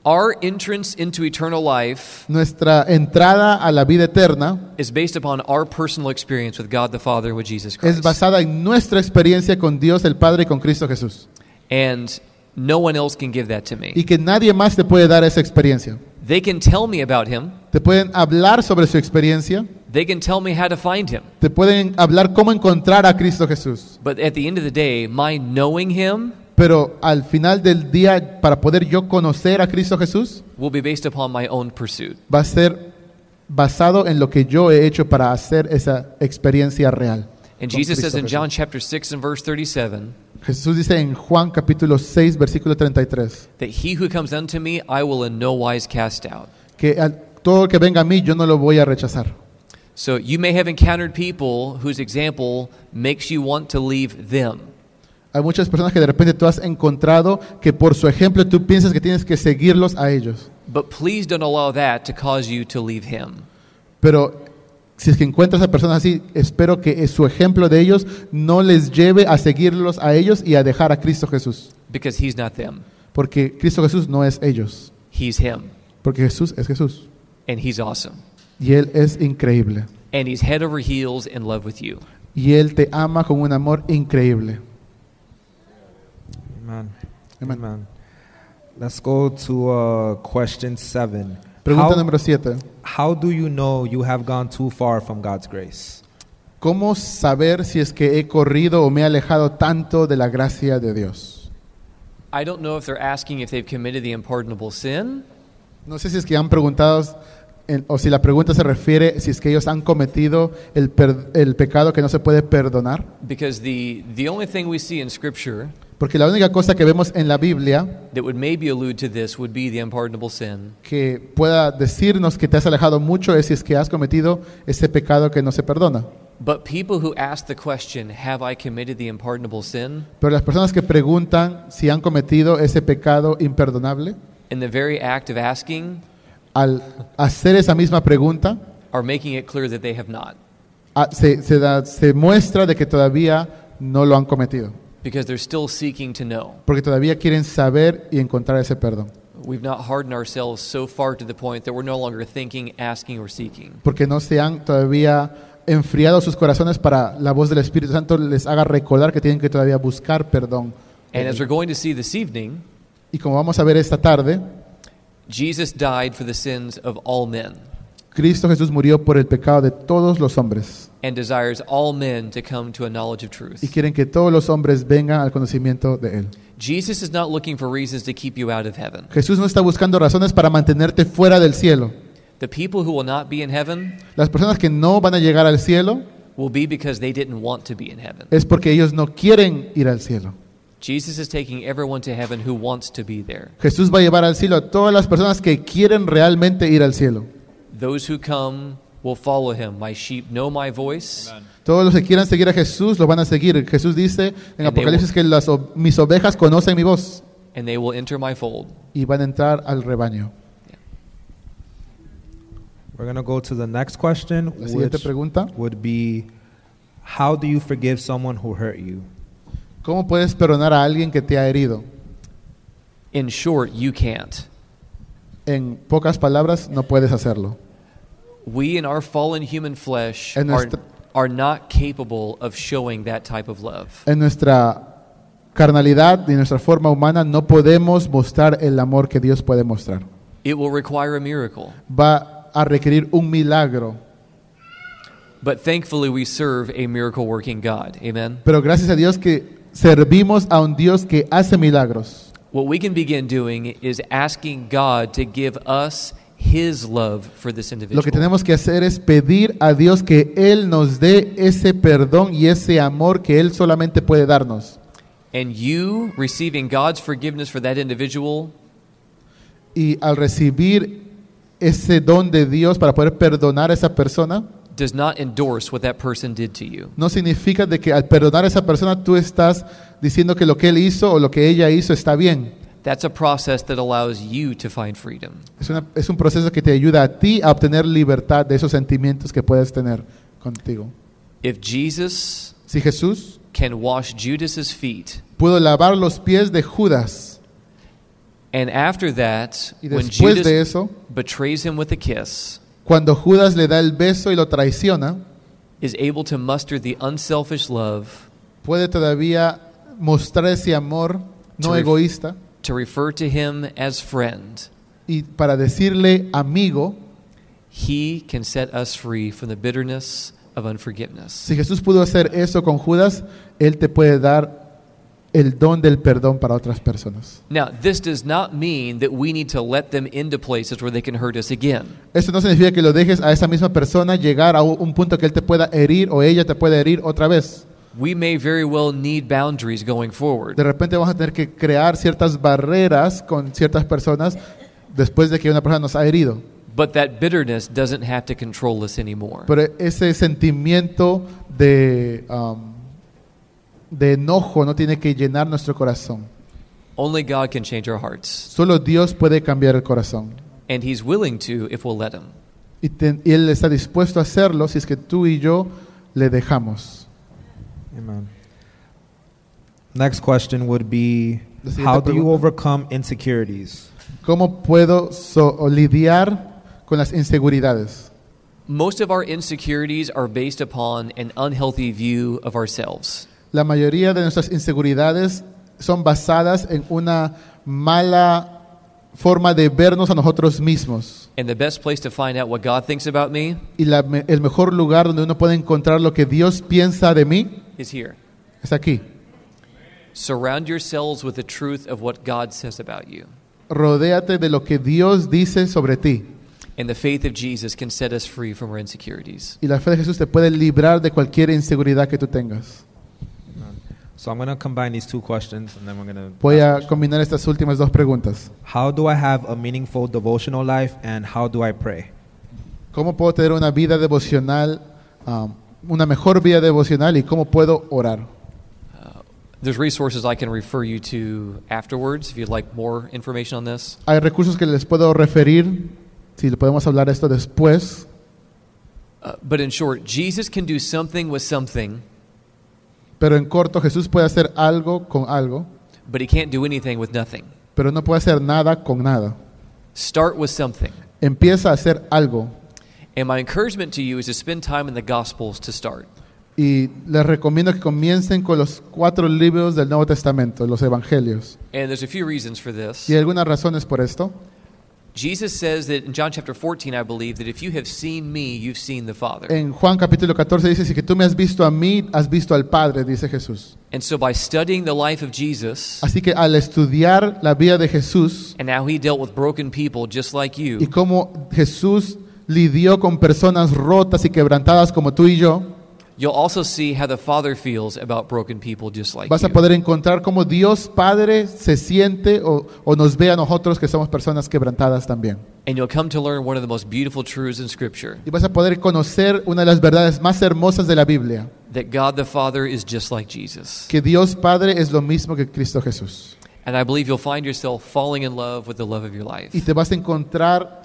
Speaker 3: Our entrance into eternal life
Speaker 1: Nuestra entrada a la vida eterna
Speaker 3: is based upon our personal experience with God the Father and with Jesus
Speaker 1: es
Speaker 3: Christ.
Speaker 1: basada en nuestra experiencia con Dios el Padre y con Cristo Jesús.
Speaker 3: And no one else can give that to
Speaker 1: Y
Speaker 3: me.
Speaker 1: que nadie más te puede dar esa experiencia.
Speaker 3: They can tell me about Him,
Speaker 1: Te pueden hablar sobre su experiencia,
Speaker 3: they can tell me how to find Him.
Speaker 1: te pueden hablar cómo encontrar a Cristo Jesús.
Speaker 3: But at the end of the day, my knowing Him
Speaker 1: Pero al final del día, para poder yo conocer a Cristo Jesús,
Speaker 3: will be based upon my own pursuit.
Speaker 1: va a ser basado en lo que yo he hecho para hacer esa experiencia real. con
Speaker 3: And Jesus says
Speaker 1: Cristo
Speaker 3: in John chapter 6 and verse 37
Speaker 1: Jesús. Jesús dice en Juan capítulo 6, versículo 33,
Speaker 3: that he who comes unto me, I will in no wise cast out.
Speaker 1: que a todo el que venga a mí yo no lo voy a rechazar.
Speaker 3: So you may have encountered people whose example makes you want to leave them.
Speaker 1: Hay muchas personas que de repente tú has encontrado que por su ejemplo tú piensas que tienes que seguirlos a ellos.
Speaker 3: But please don't allow that to cause you to leave him.
Speaker 1: Pero si es que encuentras a personas así, espero que su ejemplo de ellos no les lleve a seguirlos a ellos y a dejar a Cristo Jesús.
Speaker 3: Because he's not them.
Speaker 1: Porque Cristo Jesús no es ellos,
Speaker 3: He's him.
Speaker 1: porque Jesús es Jesús.
Speaker 3: And he's awesome.
Speaker 1: Y Él es increíble.
Speaker 3: And he's head over heels in love with you.
Speaker 1: Y Él te ama con un amor increíble.
Speaker 4: Amen.
Speaker 1: Amen.
Speaker 4: Let's go to uh, question seven.
Speaker 1: Pregunta
Speaker 4: How-
Speaker 1: número 7.
Speaker 4: How do you know you have gone too far from God's grace?
Speaker 1: ¿Cómo saber si es que he corrido o me he alejado tanto de la gracia de Dios?
Speaker 3: I don't know if they're asking if they've committed the unpardonable sin
Speaker 1: No sé si es que han preguntado en- o si la pregunta se refiere si es que ellos han cometido el, per- el pecado que no se puede perdonar.
Speaker 3: because the the only thing we see in scripture
Speaker 1: Porque la única cosa que vemos en la Biblia
Speaker 3: that would maybe allude to this would be the unpardonable sin.
Speaker 1: que pueda decirnos que te has alejado mucho es si es que has cometido ese pecado que no se perdona.
Speaker 3: But people who ask the question, Have I committed the unpardonable sin?
Speaker 1: Pero las personas que preguntan si han cometido ese pecado imperdonable,
Speaker 3: in the very act of asking
Speaker 1: al hacer esa misma pregunta,
Speaker 3: are making it clear that they have not
Speaker 1: ah, se, se da- se muestra de que todavía no lo han cometido,
Speaker 3: because they're still seeking to know.
Speaker 1: porque todavía quieren saber y encontrar ese perdón,
Speaker 3: We've not hardened ourselves so far to the point that we're no longer thinking, asking, or seeking.
Speaker 1: porque no se han todavía enfriado sus corazones para la voz del Espíritu Santo les haga recordar que tienen que todavía buscar perdón.
Speaker 3: And as we're going to see this evening,
Speaker 1: Y como vamos a ver esta tarde,
Speaker 3: Jesus died for the sins of all men
Speaker 1: Cristo Jesús murió por el pecado de todos los hombres
Speaker 3: and desires all men to come to a knowledge of
Speaker 1: y
Speaker 3: truth.
Speaker 1: quieren que todos los hombres vengan al conocimiento de Él.
Speaker 3: Jesus is not looking for reasons to keep you out of heaven.
Speaker 1: Jesús no está buscando razones para mantenerte fuera del cielo.
Speaker 3: The people who will not be in heaven
Speaker 1: Las personas que no van a llegar al cielo
Speaker 3: will be because they didn't want to be in heaven.
Speaker 1: es porque ellos no quieren ir al cielo.
Speaker 3: Jesus is taking everyone to heaven who wants to be there.
Speaker 1: Jesús va a llevar al cielo a todas las personas que quieren realmente ir al cielo.
Speaker 3: Those who come will follow him. My sheep know my voice,
Speaker 1: Todos los que quieran seguir a Jesús lo van a seguir. Jesús dice en Apocalipsis que las o- mis ovejas conocen mi voz
Speaker 3: and they will enter my fold.
Speaker 1: y van a entrar al rebaño.
Speaker 4: We're gonna go to the next question,
Speaker 1: La siguiente
Speaker 4: which
Speaker 1: pregunta,
Speaker 4: would be, how do you forgive someone who hurt you?
Speaker 1: ¿cómo puedes perdonar a alguien que te ha herido?
Speaker 3: In short, you can't.
Speaker 1: En pocas palabras, no puedes hacerlo.
Speaker 3: We in our fallen human flesh
Speaker 1: En
Speaker 3: are,
Speaker 1: nuestra-
Speaker 3: are not capable of showing that type of love.
Speaker 1: En nuestra carnalidad y nuestra forma humana no podemos mostrar el amor que Dios puede mostrar.
Speaker 3: It will require a miracle.
Speaker 1: Va a requerir un milagro.
Speaker 3: But thankfully, we serve a miracle working God. Amen.
Speaker 1: Pero gracias a Dios que servimos a un Dios que hace milagros.
Speaker 3: What we can begin doing is asking God to give us his love for this
Speaker 1: Lo que
Speaker 3: individual.
Speaker 1: tenemos que hacer es pedir a Dios que Él nos dé ese perdón y ese amor que Él solamente puede darnos.
Speaker 3: and you receiving God's forgiveness for that individual
Speaker 1: Y al recibir ese don de Dios para poder perdonar a esa persona,
Speaker 3: does not endorse what that person did to you.
Speaker 1: no significa de que al perdonar a esa persona tú estás diciendo que lo que él hizo o lo que ella hizo está bien.
Speaker 3: That's a process that allows you to find freedom.
Speaker 1: Es, una- es un proceso que te ayuda a ti a obtener libertad de esos sentimientos que puedes tener contigo.
Speaker 3: If Jesus
Speaker 1: Si Jesús
Speaker 3: can wash Judas's feet,
Speaker 1: pudo lavar los pies de Judas
Speaker 3: and after that,
Speaker 1: y
Speaker 3: when
Speaker 1: después de
Speaker 3: Judas
Speaker 1: eso,
Speaker 3: betrays him with a kiss,
Speaker 1: cuando Judas le da el beso y lo traiciona,
Speaker 3: is able to muster the unselfish love
Speaker 1: puede todavía mostrar ese amor no
Speaker 3: Terrific.
Speaker 1: egoísta
Speaker 3: to refer to him as friend,
Speaker 1: y para decirle amigo,
Speaker 3: he can set us free from the bitterness of unforgiveness.
Speaker 1: si Jesús pudo hacer eso con Judas, Él te puede dar el don del perdón para otras personas.
Speaker 3: Now, this does not mean that we need to let them into places where they can hurt us again.
Speaker 1: Esto no significa que lo dejes a esa misma persona llegar a un punto que Él te pueda herir o ella te pueda herir otra vez.
Speaker 3: We may very well need boundaries going forward.
Speaker 1: De repente vamos a tener que crear ciertas barreras con ciertas personas después de que una persona nos ha herido.
Speaker 3: But that bitterness doesn't have to control us anymore.
Speaker 1: Pero ese sentimiento de, um, de enojo no tiene que llenar nuestro corazón.
Speaker 3: Only God can change our hearts,
Speaker 1: Solo Dios puede cambiar el corazón.
Speaker 3: and He's willing to if we'll let Him.
Speaker 1: Y, te- y Él está dispuesto a hacerlo si es que tú y yo le dejamos.
Speaker 4: Amen. Next question would be
Speaker 1: La siguiente
Speaker 4: How do you
Speaker 1: pregunta.
Speaker 4: overcome insecurities?
Speaker 1: ¿Cómo puedo so- o lidiar con las inseguridades?
Speaker 3: Most of our insecurities are based upon an unhealthy view of ourselves.
Speaker 1: La mayoría de nuestras inseguridades son basadas en una mala forma de vernos a nosotros mismos.
Speaker 3: And the best place to find out what God thinks about me
Speaker 1: Y la me- el mejor lugar donde uno puede encontrar lo que Dios piensa de mí
Speaker 3: is here.
Speaker 1: es aquí.
Speaker 3: Surround yourselves with the truth of what God says about you.
Speaker 1: Rodéate de lo que Dios dice sobre ti.
Speaker 3: And the faith of Jesus can set us free from our insecurities.
Speaker 1: Y la fe de Jesús te puede librar de cualquier inseguridad que tú tengas.
Speaker 4: So I'm going to combine these two questions and then we're going
Speaker 1: Voy
Speaker 4: to.
Speaker 1: a combinar estas últimas dos preguntas.
Speaker 4: How do I have a meaningful devotional life and how do I pray?
Speaker 1: ¿Cómo puedo tener una vida devocional, um, una mejor vida devocional y cómo puedo orar?
Speaker 3: There's resources I can refer you to afterwards if you'd like more information on this.
Speaker 1: Hay recursos que les puedo referir, si le podemos hablar esto después,
Speaker 3: Uh, but in short, Jesus can do something with something,
Speaker 1: pero en corto, Jesús puede hacer algo con algo,
Speaker 3: but he can't do anything with nothing.
Speaker 1: pero no puede hacer nada con nada.
Speaker 3: Start with something.
Speaker 1: Empieza a hacer algo.
Speaker 3: And my encouragement to you is to spend time in the Gospels to start.
Speaker 1: Y les recomiendo que comiencen con los cuatro libros del Nuevo Testamento, los Evangelios.
Speaker 3: And there's a few reasons for this.
Speaker 1: Y hay algunas razones por esto.
Speaker 3: Jesus says that in John chapter 14, I believe, that if you have seen me, you've seen the Father.
Speaker 1: En Juan capítulo 14 dice, si que tú me has visto a mí, has visto al Padre, dice Jesús.
Speaker 3: and so by studying the life of Jesus
Speaker 1: Así que al estudiar la vida de Jesús
Speaker 3: and how he dealt with broken people just like
Speaker 1: y
Speaker 3: you,
Speaker 1: cómo Jesús lidió con personas rotas y quebrantadas como tú y yo,
Speaker 3: you'll also see how the Father feels about broken people just like
Speaker 1: vas a
Speaker 3: you.
Speaker 1: poder encontrar cómo Dios Padre se siente o, o nos ve a nosotros que somos personas quebrantadas también.
Speaker 3: And you'll come to learn one of the most beautiful truths in Scripture
Speaker 1: Y vas a poder conocer una de las verdades más hermosas de la Biblia,
Speaker 3: that God the Father is just like Jesus.
Speaker 1: que Dios Padre es lo mismo que Cristo Jesús.
Speaker 3: And I believe you'll find yourself falling in love with the love of your
Speaker 1: Y
Speaker 3: life.
Speaker 1: te vas a encontrar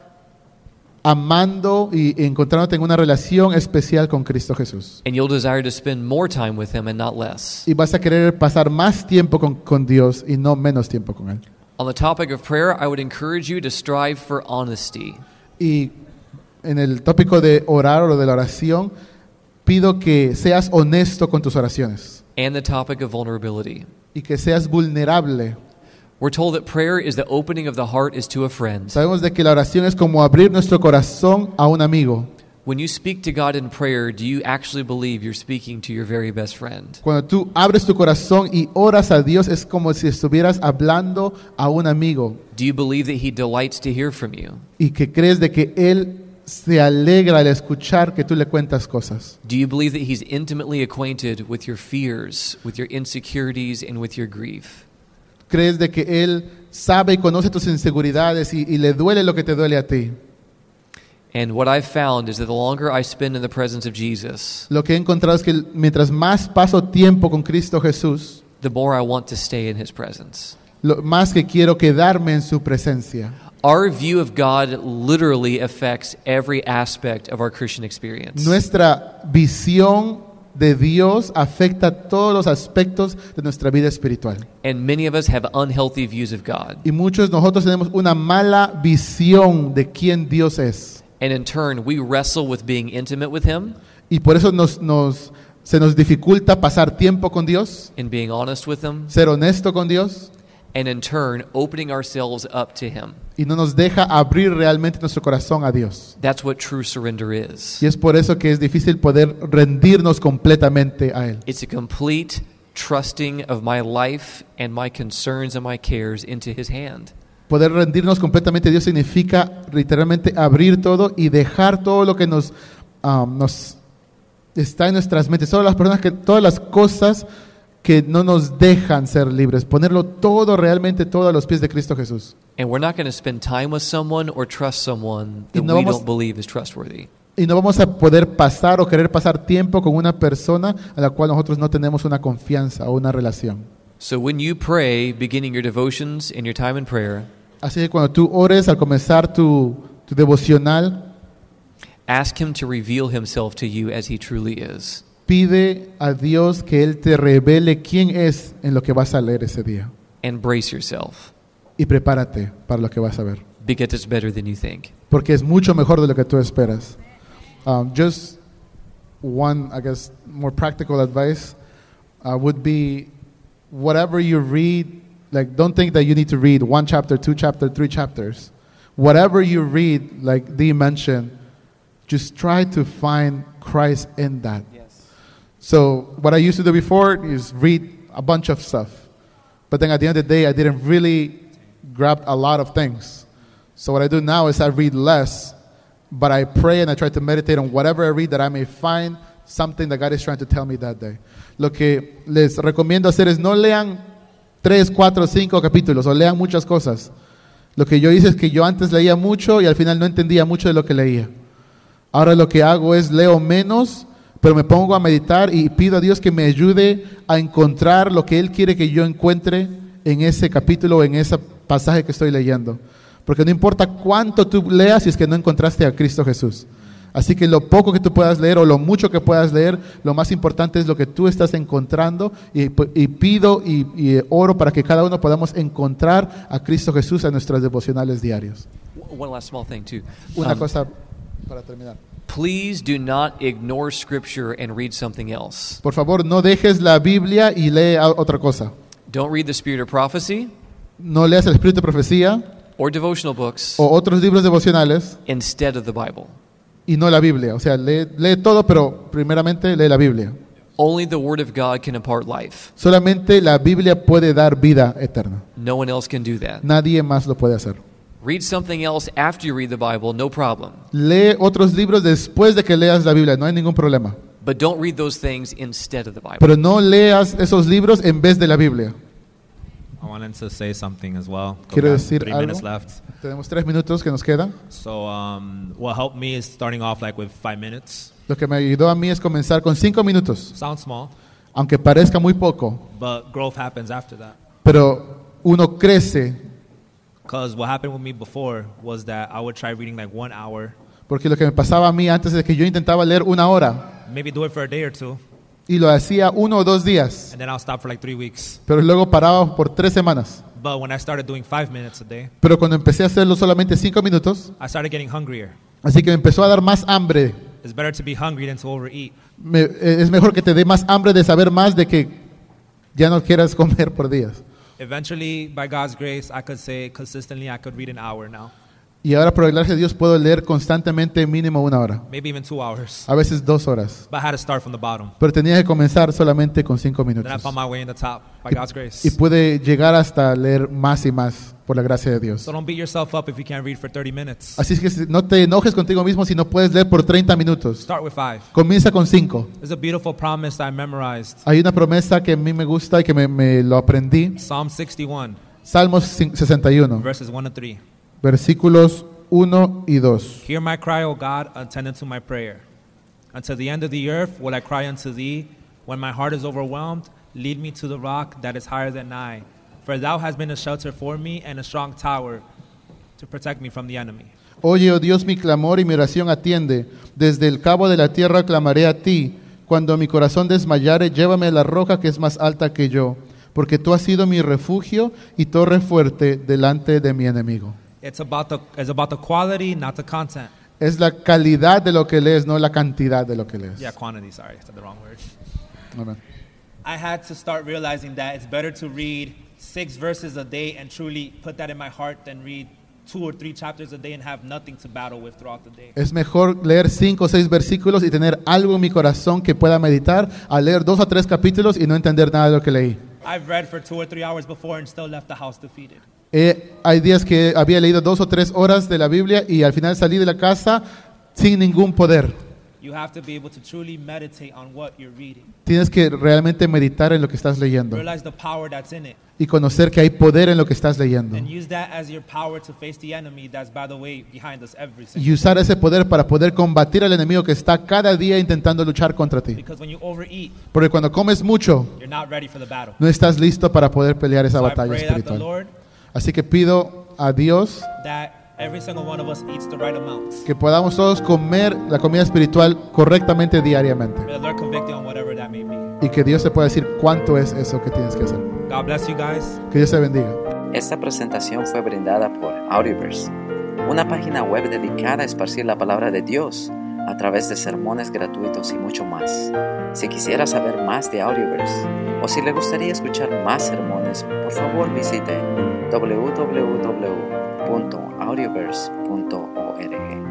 Speaker 1: amando y encontrándote en una relación especial con Cristo Jesús.
Speaker 3: And you'll desire to spend more time with him and not less.
Speaker 1: Y vas a querer pasar más tiempo con, con Dios y no menos tiempo con Él.
Speaker 3: On the topic of prayer, I would encourage you to strive for honesty.
Speaker 1: Y en el tópico de orar o de la oración, pido que seas honesto con tus oraciones
Speaker 3: and the topic of vulnerability.
Speaker 1: y que seas vulnerable.
Speaker 3: We're told that prayer is the opening of the heart is to a friend.
Speaker 1: Sabemos de que la oración es como abrir nuestro corazón a un amigo.
Speaker 3: When you speak to God in prayer, do you actually believe you're speaking to your very best friend?
Speaker 1: Cuando tú abres tu corazón y oras a Dios es como si estuvieras hablando a un amigo
Speaker 3: Do you believe that He delights to hear from you?
Speaker 1: y que crees de que Él se alegra al escuchar que tú le cuentas cosas.
Speaker 3: Do you believe that He's intimately acquainted with your fears, with your insecurities, and with your grief?
Speaker 1: Crees de que Él sabe y conoce tus inseguridades y, y le duele lo que te duele a ti.
Speaker 3: And what I've found is that the longer I spend in the presence of Jesus,
Speaker 1: Lo que he encontrado es que mientras más paso tiempo con Cristo Jesús,
Speaker 3: the more I want to stay in His presence.
Speaker 1: lo más que quiero quedarme en su presencia.
Speaker 3: Our view of God literally affects every aspect of our Christian experience.
Speaker 1: Nuestra visión de Dios afecta todos los aspectos de nuestra vida espiritual.
Speaker 3: And many of us have unhealthy views of God.
Speaker 1: Y muchos de nosotros tenemos una mala visión de quién Dios es.
Speaker 3: And in turn, we wrestle with being intimate with Him
Speaker 1: Y por eso nos, nos- se nos dificulta pasar tiempo con Dios,
Speaker 3: and being honest with Him,
Speaker 1: ser honesto con Dios,
Speaker 3: and in turn, opening ourselves up to Him.
Speaker 1: y no nos deja abrir realmente nuestro corazón a Dios.
Speaker 3: That's what true surrender is
Speaker 1: Y es por eso que es difícil poder rendirnos completamente a Él.
Speaker 3: it's a complete trusting of my life and my concerns and my cares into His hand.
Speaker 1: Poder rendirnos completamente a Dios significa literalmente abrir todo y dejar todo lo que nos, um, nos está en nuestras mentes, todas las personas que, todas las cosas que no nos dejan ser libres, ponerlo todo realmente todo a los pies de Cristo Jesús.
Speaker 3: And we're not going to spend time with someone or trust someone that
Speaker 1: Y no
Speaker 3: we
Speaker 1: vamos-
Speaker 3: don't believe is trustworthy.
Speaker 1: Y no vamos a poder pasar o querer pasar tiempo con una persona a la cual nosotros no tenemos una confianza o una relación.
Speaker 3: So when you pray, beginning your devotions and your time in prayer,
Speaker 1: Así que cuando tú ores al comenzar tu, tu devocional,
Speaker 3: ask Him to reveal Himself to you as He truly is.
Speaker 1: pide a Dios que Él te revele quién es en lo que vas a leer ese día.
Speaker 3: and brace yourself
Speaker 1: Y prepárate para lo que vas a ver.
Speaker 3: because it's better than you think.
Speaker 1: porque es mucho mejor de lo que tú esperas. Um, just one, I guess, more practical advice uh, would be whatever you read, like, don't think that you need to read one chapter, two chapter, three chapters. Whatever you read, like Dee mentioned, just try to find Christ in that. So what I used to do before is read a bunch of stuff. But then at the end of the day, I didn't really grab a lot of things. So what I do now is I read less, but I pray and I try to meditate on whatever I read that I may find something that God is trying to tell me that day. Lo que les recomiendo hacer es no lean tres, cuatro, cinco capítulos o lean muchas cosas. Lo que yo hice es que yo antes leía mucho y al final no entendía mucho de lo que leía. Ahora lo que hago es leo menos, pero me pongo a meditar y pido a Dios que me ayude a encontrar lo que Él quiere que yo encuentre en ese capítulo o en ese pasaje que estoy leyendo. Porque no importa cuánto tú leas si es que no encontraste a Cristo Jesús. Así que lo poco que tú puedas leer o lo mucho que puedas leer, lo más importante es lo que tú estás encontrando y, p- y pido y, y oro para que cada uno podamos encontrar a Cristo Jesús en nuestras devocionales diarios.
Speaker 3: W- One last small thing, too.
Speaker 1: Una
Speaker 3: Um,
Speaker 1: cosa para terminar.
Speaker 3: Please do not ignore Scripture and read something else.
Speaker 1: Por favor, no dejes la Biblia y lee a- otra cosa.
Speaker 3: Don't read the Spirit of Prophecy
Speaker 1: No leas el Espíritu de Profecía
Speaker 3: or devotional books
Speaker 1: o otros libros devocionales
Speaker 3: instead of the Bible.
Speaker 1: y no la Biblia. O sea, lee, lee todo, pero primeramente lee la Biblia.
Speaker 3: Only the Word of God can impart life.
Speaker 1: Solamente la Biblia puede dar vida eterna.
Speaker 3: No one else can do that.
Speaker 1: Nadie más lo puede hacer.
Speaker 3: Read something else after you read the Bible, no problem.
Speaker 1: Lee otros libros después de que leas la Biblia, no hay ningún problema.
Speaker 3: But don't read those things instead of the Bible.
Speaker 1: Pero no leas esos libros en vez de la Biblia.
Speaker 2: I wanted to say something as well.
Speaker 1: Quiero
Speaker 2: We have
Speaker 1: decir
Speaker 2: three
Speaker 1: algo.
Speaker 2: minutes left.
Speaker 1: Tenemos tres minutos que nos quedan.
Speaker 2: So um, what helped me is starting off like with five minutes.
Speaker 1: Lo que me ayudó a mí es comenzar con cinco minutos,
Speaker 2: Sounds small,
Speaker 1: aunque parezca muy poco,
Speaker 2: but growth happens after that.
Speaker 1: pero uno crece
Speaker 2: Because what happened with me before was that I would try reading like one hour,
Speaker 1: Porque lo que me pasaba a mí antes es que yo intentaba leer una hora
Speaker 2: maybe do it for a day or two,
Speaker 1: y lo hacía uno o dos días,
Speaker 2: and then I'll stop for like three weeks.
Speaker 1: pero luego paraba por tres semanas.
Speaker 2: But when I started doing five minutes a day,
Speaker 1: Pero cuando empecé a hacerlo solamente cinco minutos,
Speaker 2: I started getting hungrier.
Speaker 1: así que me empezó a dar más hambre.
Speaker 2: It's better to be hungry than to overeat.
Speaker 1: Me- eh, es mejor que te dé más hambre de saber más de que ya no quieras (laughs) comer por días.
Speaker 2: Eventually, by God's grace, I could say consistently I could read an hour now. maybe even two hours. (laughs)
Speaker 1: a veces dos horas.
Speaker 2: But I had to start from the bottom.
Speaker 1: Pero tenía que comenzar solamente con cinco
Speaker 2: Then I
Speaker 1: minutos.
Speaker 2: found my way in the top by God's
Speaker 1: Y
Speaker 2: grace.
Speaker 1: pude llegar hasta leer más y más por la gracia de Dios.
Speaker 2: So don't beat yourself up if you can't read for 30 minutes.
Speaker 1: Así es que si- no te enojes contigo mismo si no puedes leer por 30 minutos.
Speaker 2: Start with five.
Speaker 1: Comienza con cinco.
Speaker 2: There's a beautiful promise that I memorized.
Speaker 1: Hay una promesa que a mí me gusta y que me, me lo aprendí.
Speaker 2: Psalm 61,
Speaker 1: Salmos cin- 61,
Speaker 2: verses 1 to 3.
Speaker 1: versículos 1 y 2.
Speaker 2: Hear my cry, O God, attend unto my prayer. Until the end of the earth will I cry unto thee. When my heart is overwhelmed, lead me to the rock that is higher than I. For thou hast been a shelter for me and a strong tower to protect me from the enemy.
Speaker 1: Oye, oh Dios, mi clamor y mi oración atiende. Desde el cabo de la tierra clamaré a ti. Cuando mi corazón desmayare, llévame a la roca que es más alta que yo, porque tú has sido mi refugio y torre fuerte delante de mi enemigo.
Speaker 2: It's about the, it's about the quality, not the content.
Speaker 1: Es la calidad de lo que lees, no la cantidad de lo que lees.
Speaker 2: Yeah, quantity, sorry, I said the wrong word.
Speaker 1: Amén.
Speaker 2: I had to start realizing that it's better to read six verses a day and truly put that in my heart than read two or three chapters a day and have nothing to battle with throughout the day.
Speaker 1: Es mejor leer cinco o seis versículos y tener algo en mi corazón que pueda meditar, a leer dos o tres capítulos y no entender nada de lo que leí.
Speaker 2: I've read for two or three hours before and still left the house defeated.
Speaker 1: Eh, hay días que había leído dos o tres horas de la Biblia y al final salí de la casa sin ningún poder.
Speaker 2: You have to be able to truly meditate on what you're reading.
Speaker 1: Tienes que realmente meditar en lo que estás leyendo
Speaker 2: Realize the power that's in it
Speaker 1: y conocer que hay poder en lo que estás leyendo.
Speaker 2: and use that as your power to face the enemy that's by the way behind us every single
Speaker 1: Y usar ese poder para poder combatir al enemigo que está cada día intentando luchar contra ti.
Speaker 2: because when you overeat,
Speaker 1: Porque cuando comes mucho,
Speaker 2: you're not ready for the battle.
Speaker 1: no estás listo para poder pelear esa
Speaker 2: So I
Speaker 1: batalla
Speaker 2: pray that the
Speaker 1: espiritual.
Speaker 2: Lord
Speaker 1: Así que pido a Dios
Speaker 2: that every single one of us eats the right amounts.
Speaker 1: que podamos todos comer la comida espiritual correctamente diariamente
Speaker 2: May the Lord convict you on whatever that may be.
Speaker 1: y que Dios te pueda decir cuánto es eso que tienes que hacer.
Speaker 2: God bless you guys.
Speaker 1: Que Dios te bendiga.
Speaker 5: Esta presentación fue brindada por Audioverse, una página web dedicada a esparcir la palabra de Dios a través de sermones gratuitos y mucho más. Si quisiera saber más de Audioverse o si le gustaría escuchar más sermones, por favor visite www.audioverse.org.